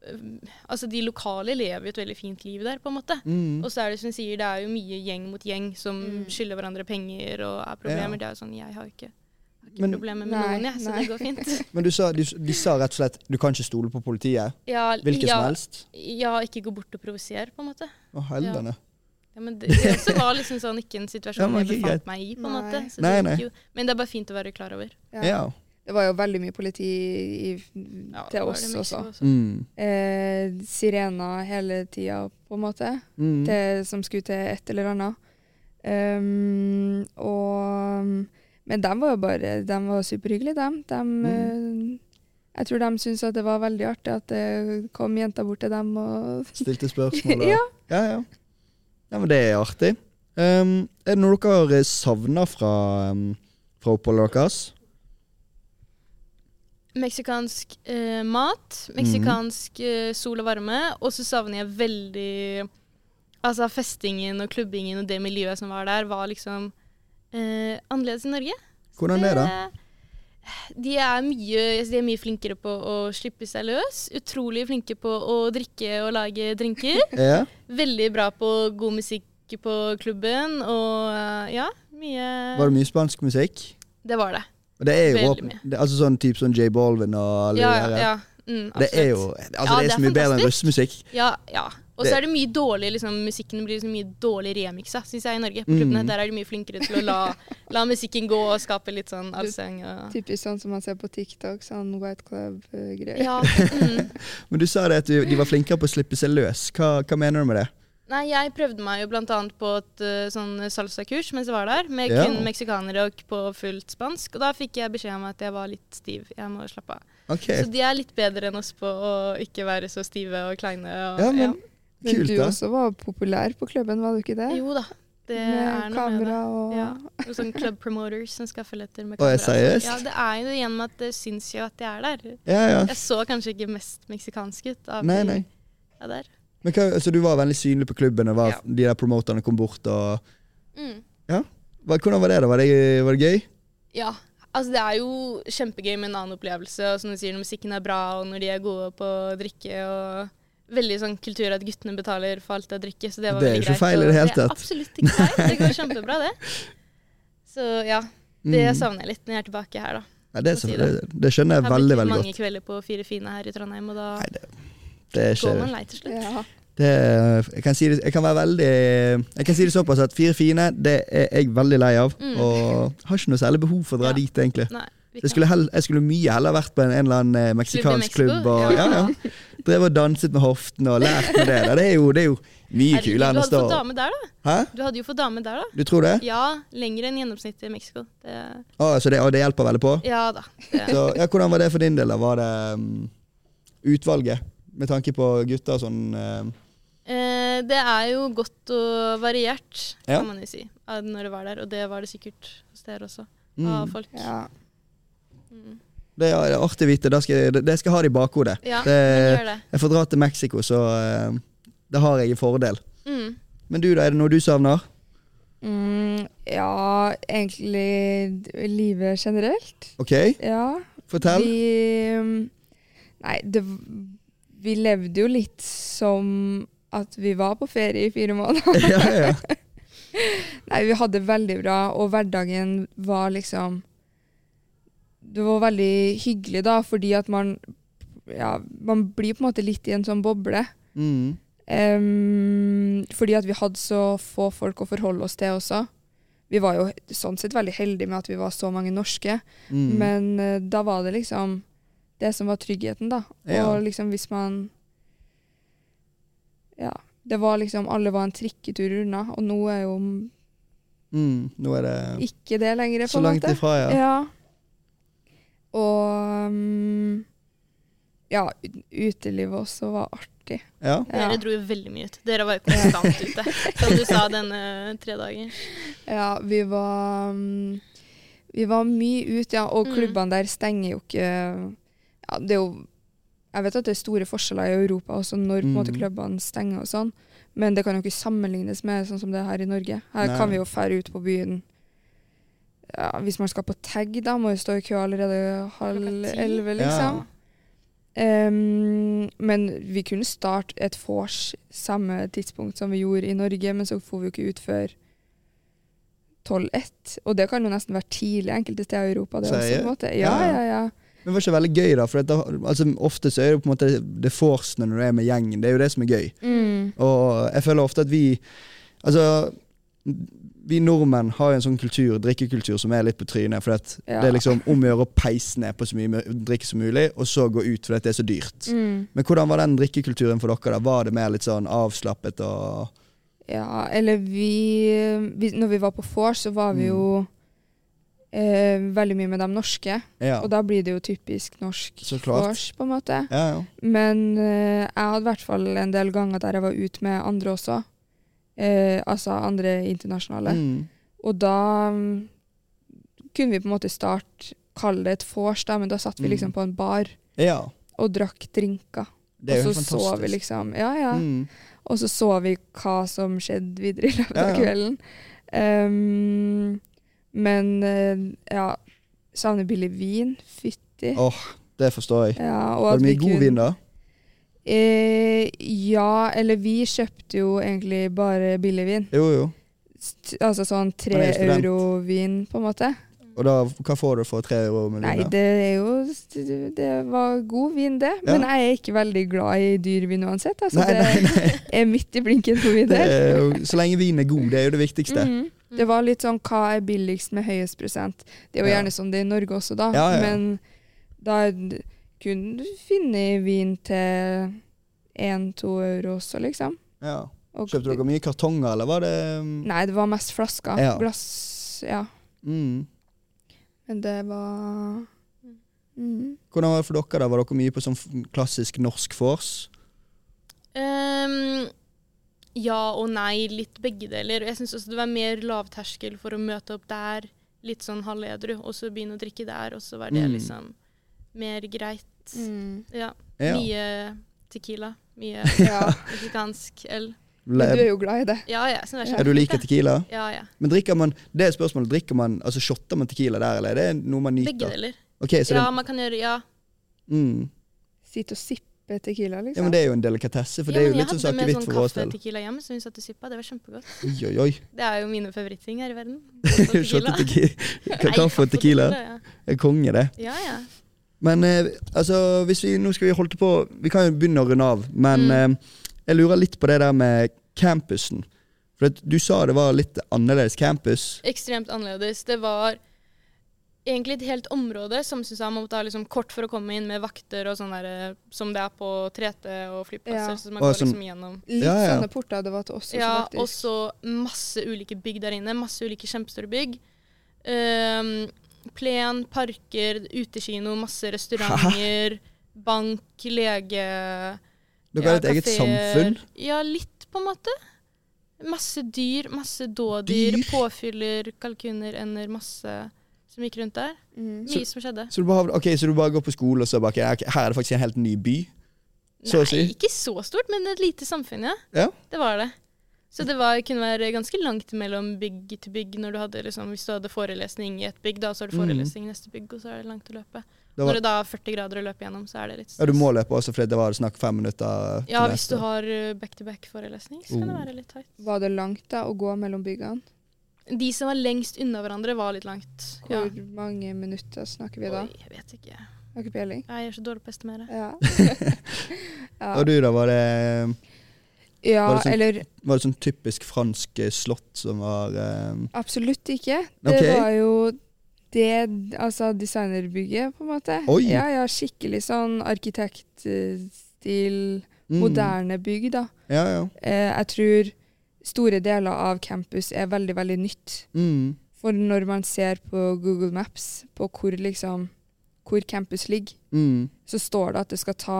øhm, altså De lokale lever jo et veldig fint liv der, på en måte. Mm. Og så er det som du sier, det er jo mye gjeng mot gjeng som skylder hverandre penger og er problemer. Ja. Det er jo sånn, jeg har jo ikke, har ikke Men- problemer med Nei, noen, jeg, så nei. det går fint. Men du sa, de, de sa rett og slett du kan ikke stole på politiet? Ja, Hvilket ja, som helst? Ja, ikke gå bort og provosere, på en måte. Å, hellene. Ja, men det, det også var liksom sånn ikke en Ja, situasjon men jeg ikke greit. befant meg i, på en Nei. måte. Så Nei, det nei. gikk jo. Men det er bare fint å være klar over. Ja. Det var jo veldig mye politi i, det til var oss det også. Mexico Mm. Eh, sirener hele tida, på en måte. Mm. Det som skulle til et eller annet. Ehm, og Men de var jo bare De var superhyggelige, dem. Dem, Mm. eh, Jeg tror de syntes at det var veldig artig at det kom jenter bort til dem og Stilte spørsmål. og- Ja. Ja, ja. ja, men det er artig. Ehm, er det noe dere savner fra, um, fra oppholdet deres? Meksikansk eh, mat, meksikansk Mhm. eh, sol og varme, og så savner jeg veldig Altså festingen og klubbingen og det miljøet som var der, var liksom eh, annerledes i Norge. Hvordan er det? De er, mye, de er mye flinkere på å slippe seg løs. Utrolig flinke på å drikke og lage drinker. Ja. Veldig bra på god musikk på klubben og eh, ja, mye Var det mye spansk musikk? Det var det. Og Det er jo Veldig åpen, mye. det, altså sånn type sånn J Balvin og alle Ja, de ja. der. ja. Mm, Det er jo absolutt. altså det Ja, det er så er mye bedre enn fantastisk. russemusikk. Ja, ja. Og Det- så er det mye dårlig liksom, Musikken blir liksom mye dårlig remixa, syns jeg, i Norge. På Mm. klubbene Der er de mye flinkere til å la, la musikken gå og skape litt sånn allsang. Og, Typisk sånn som man ser på TikTok, sånn White Club-greier. ja. Mm. Men du sa det at du, de var flinkere på å slippe seg løs. Hva, hva mener du med det? Nei, jeg prøvde meg jo blant annet på et eh, sånn salsa-kurs mens jeg var der, med Ja. kun meksikanere og på fullt spansk. Og da fikk jeg beskjed om at jeg var litt stiv. Jeg må slappe av. Ok, Så de er litt bedre enn oss på å ikke være så stive og kleine. Og, ja, men Men kult, du da. også var populær på klubben, var du ikke det? Jo da, det er med noe med det. kamera og Ja, og sånn club promoters som skal følge etter med Å, er kamera. seriøst? Ja, det er jo det igjen med at det syns jo at jeg er der. Ja, ja. Jeg så kanskje ikke mest meksikansk ut av Ah. Nei, de- nei. Ja, der. Men hva, altså, du var veldig synlig på klubben, og var, Ja. de der promoterne kom bort og Mm. hva, Hvordan var det, da? Var det, var det gøy? Ja. Altså, det er jo kjempegøy med en annen opplevelse, og som du sier, når musikken er bra, og når de er gode på å drikke, og veldig sånn kultur at guttene betaler for alt det å drikke, så det var Det er veldig jo ikke greit. feil i og det hele er tatt. absolutt ikke feil. Det går kjempebra, det. Så ja, det Mm. savner jeg litt når jeg er tilbake her, da. Ja, det, er å si så- det. det, det skjønner Jeg jeg har veldig blitt veldig mange godt. kvelder på Fire fine her i Trondheim, og da Nei, det, det er går ikke man lei til slutt. Ja. det, er- jeg, kan si det, jeg kan være veldig Jeg kan si det såpass at Fire fine det er jeg veldig lei av. Mm. Og har ikke noe særlig behov for å dra Ja. dit, egentlig. Nei, vi Jeg skulle, hell, jeg skulle mye heller vært på en, en eller annen eh, meksikansk Klubb i klubb. Mexico, Og, ja, ja. ja. Drev og danset med hoften og lært med det. der. Det er jo, det er jo mye Herregud, kulere enn å Du stå hadde fått dame der, da. Hæ? Du hadde jo fått dame der, da. Du tror det? Ja, lenger enn gjennomsnittet i Mexico. Det, Å, så det, og det hjelper veldig på? ja da. Det, Så, ja, hvordan var det for din del? da? Var det mm, utvalget? Med tanke på gutter og sånn eh, eh, det er jo godt og variert, Ja. kan man jo si, av når det var der. Og det var det sikkert hos dere også, mm. av folk. Ja. Ja. Mm. det, er, det er artig å vite. Det skal, jeg- det- det skal jeg ha det i bakhodet. ja Det, men gjør det. jeg får dra til Mexico, så eh, det har jeg i fordel. Mm. Men du, da? Er det noe du savner? Mm, ja, egentlig d- livet generelt. OK, Ja. fortell. Vi mm, Nei, det v- Vi levde jo litt som at vi var på ferie i fire måneder. ja, ja. Nei, vi hadde det veldig bra, og hverdagen var liksom Det var veldig hyggelig, da, fordi at man Ja, man blir på en måte litt i en sånn boble. Mm. Ehm, fordi at vi hadde så få folk å forholde oss til også. Vi var jo sånn sett veldig heldige med at vi var så mange norske, Mm. men eh, da var det liksom det som var tryggheten, da. Ja. Og liksom hvis man Ja. Det var liksom Alle var en trikketur unna, og nå er jo Mm, nå er det ikke det lenger, på så en langt måte. ifra, ja. Ja. Og mm, Ja, ut- utelivet også var artig. ja. Ja. Dere dro jo veldig mye ut. Dere var jo konstant ute, som du sa denne tre dagen. Ja, vi var mm, Vi var mye ute, ja. Og Mm. klubbene der stenger jo ikke ja, Det er jo Jeg vet at det er store forskjeller i Europa også når på en måte Mm. klubbene stenger og sånn, men det kan jo ikke sammenlignes med sånn som det er her i Norge. Her Nei. kan vi jo fære ut på byen ja, Hvis man skal på tag, da må vi stå i kø allerede halv Klokka ti. elleve, Ja. liksom. Ehm, men vi kunne starte et vors samme tidspunkt som vi gjorde i Norge, men så får vi jo ikke ut før 12-1. Og det kan jo nesten være tidlig enkelte steder i Europa. Det også, på Seriøst? en måte. Ja, Ja, ja. ja, ja. Men var ikke veldig gøy, da? For at da, altså, ofte så er det på en måte det forcene når du er med gjengen. Det er jo det som er gøy. Mm. Og jeg føler ofte at vi Altså, vi nordmenn har jo en sånn kultur, drikkekultur som er litt på trynet. For at Ja. det er liksom om å gjøre å peise ned på så mye mør- drikke som mulig, og så gå ut fordi at det er så dyrt. Mm. Men hvordan var den drikkekulturen for dere? da? Var det mer litt sånn avslappet og Ja, eller vi, vi Når vi var på vors, så var Mm. vi jo eh, veldig mye med de norske. Ja, Og da blir det jo typisk norsk så klart. vors, på en måte. Ja, ja. Men eh, jeg hadde i hvert fall en del ganger der jeg var ute med andre også. Eh, altså andre internasjonale. Mm. Og da mm, kunne vi på en måte starte, kalle det et vors, da, men da satt vi Mm. liksom på en bar ja. og drakk drinker. Det er jo og helt så fantastisk. så vi liksom Ja, ja. Mm. Og så så vi hva som skjedde videre i løpet Ja, av ja. kvelden. Ehm, men eh, ja Savner billig vin. Fytti. Åh, det forstår jeg. Ja, og Var at det vi mye god kunne- vin, da? Eh, ja, eller vi kjøpte jo egentlig bare billigvin. Jo, jo. St- Altså Man sånn er tre jo student. euro-vin, på en måte. Og da, hva får du for tre euro med Nei, vin? da? det er jo Det var god vin, det. Ja. Men jeg er ikke veldig glad i dyr vin uansett. Altså, nei, nei, nei. Det er midt i blinken for min Det del. er jo, så lenge vinen er god, det er jo det viktigste. Mhm. Det var litt sånn hva er billigst med høyest prosent? Det er jo Ja. gjerne sånn det er i Norge også, da. Ja, ja, ja. Men da d- kunne du finne vin til én-to euro også, liksom. Ja. Og- Kjøpte dere mye kartonger, eller var det mm, Nei, det var mest flasker. Ja. Glass, ja. mm. Men det var mm. Hvordan var det for dere? da? Var dere mye på sånn f- klassisk norsk vors? Ehm, ja og nei, litt begge deler. Og Jeg syns også det var mer lavterskel for å møte opp der, litt sånn halvedru, og så begynne å drikke der, og så var det Mm. liksom mer greit. Ja. Ja. Mye tequila. Mye Ja. meksikansk øl. Men du er Le- jo glad i det. Ja ja. Sånn er Er du liker tequila? Ja ja. Men drikker man det er spørsmålet, drikker man, altså shotter man tequila der, eller er det noe man Begge nyter? deler. Ok, så det, Ja, man kan gjøre Ja. mm. Sitte og sippe tequila, ja, liksom. men det er jo en delikatesse, for det ja, er jo men litt sånn Jeg hadde med akevitt sånn for vår del. kaffetequila hjem, som hun satt og sippa. Det var kjempegodt. Oi, oi, oi. Det er jo mine favoritting her i verden. Shotte tequila. Nei, Kaffe og tequila. ja. Det er Konge, det. Ja, ja. Men eh, altså, hvis vi nå skal vi holde på Vi kan jo begynne å runde av, men Mm. eh, jeg lurer litt på det der med campusen. For at du sa det var litt annerledes campus. ekstremt annerledes. Det var egentlig et helt område. Samfunnshuset man måtte ha liksom kort for å komme inn med vakter og sånn der, eh, som det er på 3T og flyplasser. Ja. Så man Og går sånn- liksom gjennom. Litt Ja, ja. sånne porter det var til oss også, Ja, og faktisk. så masse ulike bygg der inne. Masse ulike kjempestore bygg. Ehm, plen, parker, utekino, masse restauranter, bank, lege Dere har ja, eh, et eget kaféer. samfunn. Ja, litt på en måte. Masse dyr, masse dådyr, Dyr? påfyller, kalkuner, ender, masse som gikk rundt der. Mm. Mye som skjedde. Så du, bare, har- ok, så du bare går på skole, og så bare ok, Her er det faktisk en helt ny by. Så å Nei, si. ikke så stort, men et lite samfunn, ja. Ja. Det var det. Så det var, kunne være ganske langt mellom bygg til bygg når du hadde, liksom, hvis du hadde forelesning i et bygg, da, så har du Mm. forelesning i neste bygg, og så er det langt å løpe. Det var- Når det da er 40 grader å løpe gjennom, så er det litt Ja, du må løpe også, for det var snakk fem minutter. til Ja, hvis neste. du har eh, back-to-back-forelesning, så kan det Oh. være litt tight. Var det langt da å gå mellom byggene? De som var lengst unna hverandre, var litt langt. Ja. Hvor mange minutter snakker vi da? Oi, jeg vet ikke. Har ikke peiling. Nei, Jeg er så dårlig på å estimere. Ja. Og ja. du, da? Var det, ja, Var det sånn- eller var det sånn typisk fransk eh, slott som var eh, absolutt ikke. Det Ok. var jo det altså designerbygget, på en måte. Oi. Ja, ja, skikkelig sånn arkitektstil, mm, moderne bygg, da. Ja, ja. Eh, jeg tror store deler av campus er veldig, veldig nytt. Mm, For når man ser på Google Maps på hvor, liksom, hvor campus ligger, mm. så står det at det skal ta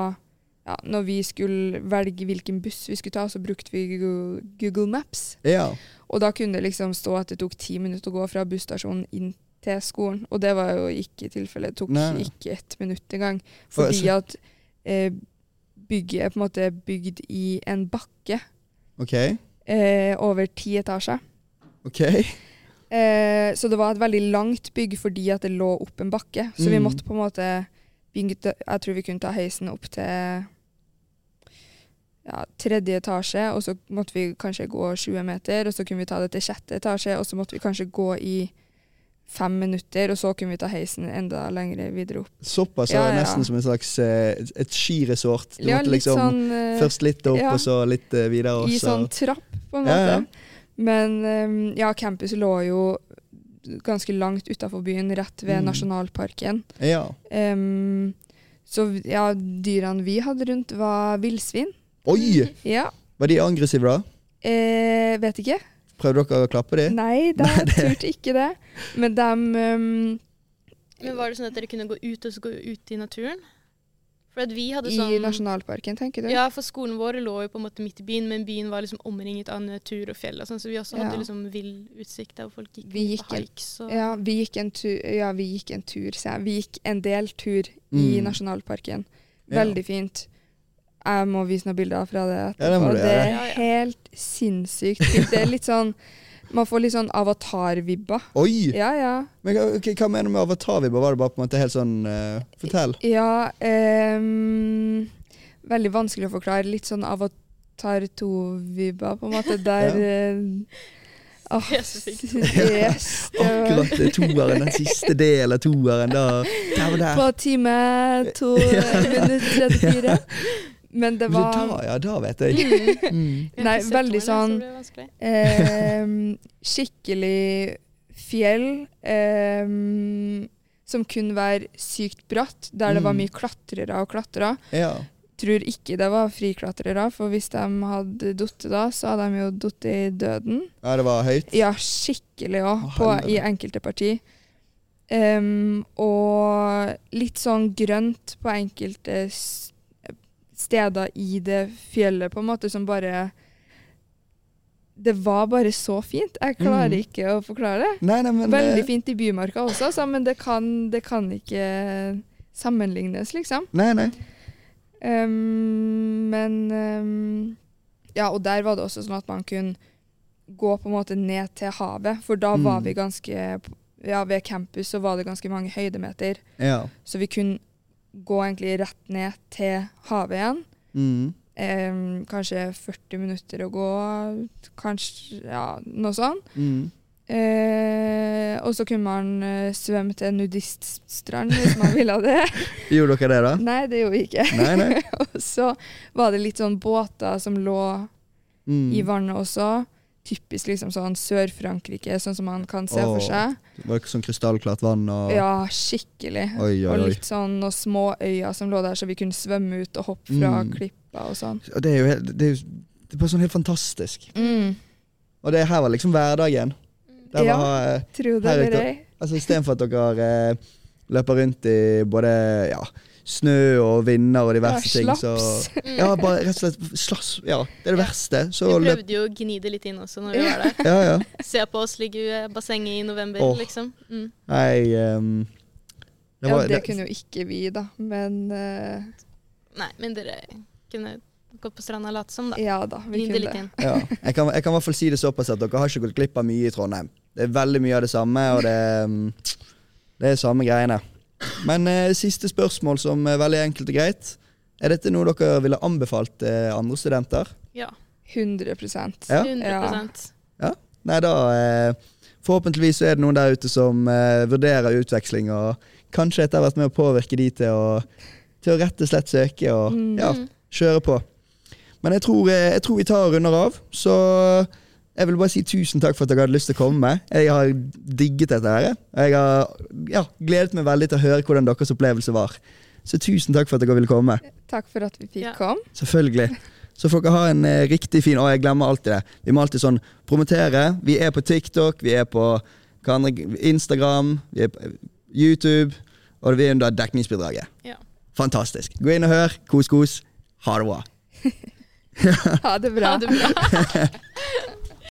ja, Når vi skulle velge hvilken buss vi skulle ta, så brukte vi Google, Google Maps. Ja. Og da kunne det liksom stå at det tok ti minutter å gå fra busstasjonen inn til skolen. Og det var jo ikke tilfellet. Det tok Nei, nei. ikke ett minutt engang. For- Fordi at eh, bygget er på en måte bygd i en bakke OK. eh, over ti etasjer. ok. Eh, så det var et veldig langt bygg fordi at det lå opp en bakke. Så vi Mm. måtte på en måte begynte, Jeg tror vi kunne ta heisen opp til ja, tredje etasje, og så måtte vi kanskje gå 20 meter, og så kunne vi ta det til sjette etasje, og så måtte vi kanskje gå i fem minutter, og så kunne vi ta heisen enda lenger videre opp. Såpass Ja, var det ja. nesten som en slags eh, et skiresort. Du Ja, måtte litt liksom sånn eh, først litt opp, ja. og så litt eh, videre. Og i så. sånn trapp, på en Ja, måte. ja. Men ehm, ja, campus lå jo ganske langt utafor byen, rett ved Mm. nasjonalparken. Ja. Ehm, så v- ja, dyrene vi hadde rundt var villsvin. Oi! Ja. Var de aggressive, da? Eh, vet ikke. Prøvde dere å klappe de? Nei, de turte ikke det. Men de ehm, Men var det sånn at dere kunne gå ut og så gå ut i naturen? For at vi hadde sånn i nasjonalparken, tenker du? Ja, for skolen vår lå jo på en måte midt i byen, men byen var liksom omringet av natur og fjell og sånn, så vi også hadde Ja. liksom vill utsikt der hvor folk gikk, Vi ut gikk på en- hikes og Ja, vi gikk en tur, ja, vi gikk en tur, sier jeg. Vi gikk en del tur i Mm. nasjonalparken. Ja. Veldig fint. Jeg må vise noen bilder fra det. Ja, det må etterpå. du det gjøre. er Ja, ja. helt sinnssykt. fint. Det er litt sånn Man får litt sånn avatar-vibber. Oi! Ja, ja. Men hva- ok, hva mener du med avatarvibber? Var det bare på en måte helt sånn eh, Fortell. Ja ehm, Veldig vanskelig å forklare. Litt sånn Avatar 2-vibber, på en måte, der eh, ah, Spesifikt. Yes. det var- Akkurat det toeren, den siste delen av toeren. Da. Der og der. På time to minutter 34. Men det Men så var Da, ja, da vet jeg. Mm. Jeg har Nei, ikke sett veldig Tomorrowland, sånn- så det blir vanskelig. ehm, skikkelig fjell ehm, som kunne være sykt bratt, der det var Mm. mye klatrere og klatrere. Ja. Tror ikke det var friklatrere, for hvis de hadde datt da, så hadde de jo datt i døden. ja, det var høyt. Ja, skikkelig Å, òg, i helvete. enkelte parti. Ehm, og litt sånn grønt på enkelte s- steder i det fjellet, på en måte, som bare Det var bare så fint. Jeg klarer Mm. ikke å forklare det. Nei, nei, men, eh, Veldig fint i Bymarka også, altså, men det kan, det kan ikke sammenlignes, liksom. Nei, nei. Ehm, men ehm, Ja, og der var det også sånn at man kunne gå på en måte ned til havet, for da var Mm. vi ganske Ja, ved campus så var det ganske mange høydemeter, Ja. så vi kunne gå egentlig rett ned til havet igjen. Mm. Ehm, kanskje 40 minutter å gå, kanskje Ja, noe sånt. Mm. Eh, og så kunne man eh, svømme til en nudiststrand hvis man ville det. Gjorde dere det, da? Nei, det gjorde vi ikke. Nei, nei. Og så var det litt sånn båter som lå Mm. i vannet også. Typisk liksom sånn Sør-Frankrike, sånn som man kan se for Åh. seg. Var det ikke sånn krystallklart vann og Ja, skikkelig. Oi, oi, Og oi. litt sånn noen små øyer som lå der, så vi kunne svømme ut og hoppe fra Mm. klippa og sånn. Og Det er jo helt, det er jo det er bare sånn helt fantastisk. Mm. Og det her var liksom hverdagen. Det Ja. var, eh, Tro det Her er eller det- ei. altså Istedenfor at dere eh, løper rundt i både ja, snø og vinder og Ja, diverse ting, så slaps. Mm. Ja, bare rett og slett slass. Ja, det er det Ja. verste. Så Vi løp prøvde jo å gni det litt inn også når vi var der. Ja, ja. Se på oss ligge i bassenget i november, Åh. liksom. Mm. Nei ehm, det Ja, var- det kunne jo ikke vi, da, men eh, Nei, men dere kunne gå på stranda og late som, da. ja da, vi Gni det kunne litt det. inn. ja. Jeg kan, jeg kan i hvert fall si det såpass at dere har ikke gått glipp av mye i Trondheim. Det er veldig mye av det samme, og det, ehm, det er samme greiene. Men eh, siste spørsmål, som er veldig enkelt og greit. Er dette noe dere ville anbefalt eh, andre studenter? Ja, 100 Ja. 100 Nei, da eh, Forhåpentligvis så er det noen der ute som eh, vurderer utveksling, og kanskje etter hvert med å påvirke de til å, til å rett og slett søke og Mm. ja, Mm. kjøre på. Men jeg tror, eh, jeg tror vi tar og runder av, så eh, jeg vil bare si tusen takk for at dere hadde lyst til å komme. Jeg har digget dette her. Og jeg har ja, gledet meg veldig til å høre hvordan deres opplevelse var. Så tusen takk for at dere ville komme. Takk for at vi fikk Ja. komme. Selvfølgelig. Så får dere ha en eh, riktig fin Å, jeg glemmer alltid det. Vi må alltid sånn promotere. Vi er på TikTok, vi er på hva andre, Instagram, vi er på eh, YouTube, og vi er under dekningsbidraget. Ja. Fantastisk. Gå inn og hør. Kos, kos. Ha det bra. Ha det bra. Ha det bra.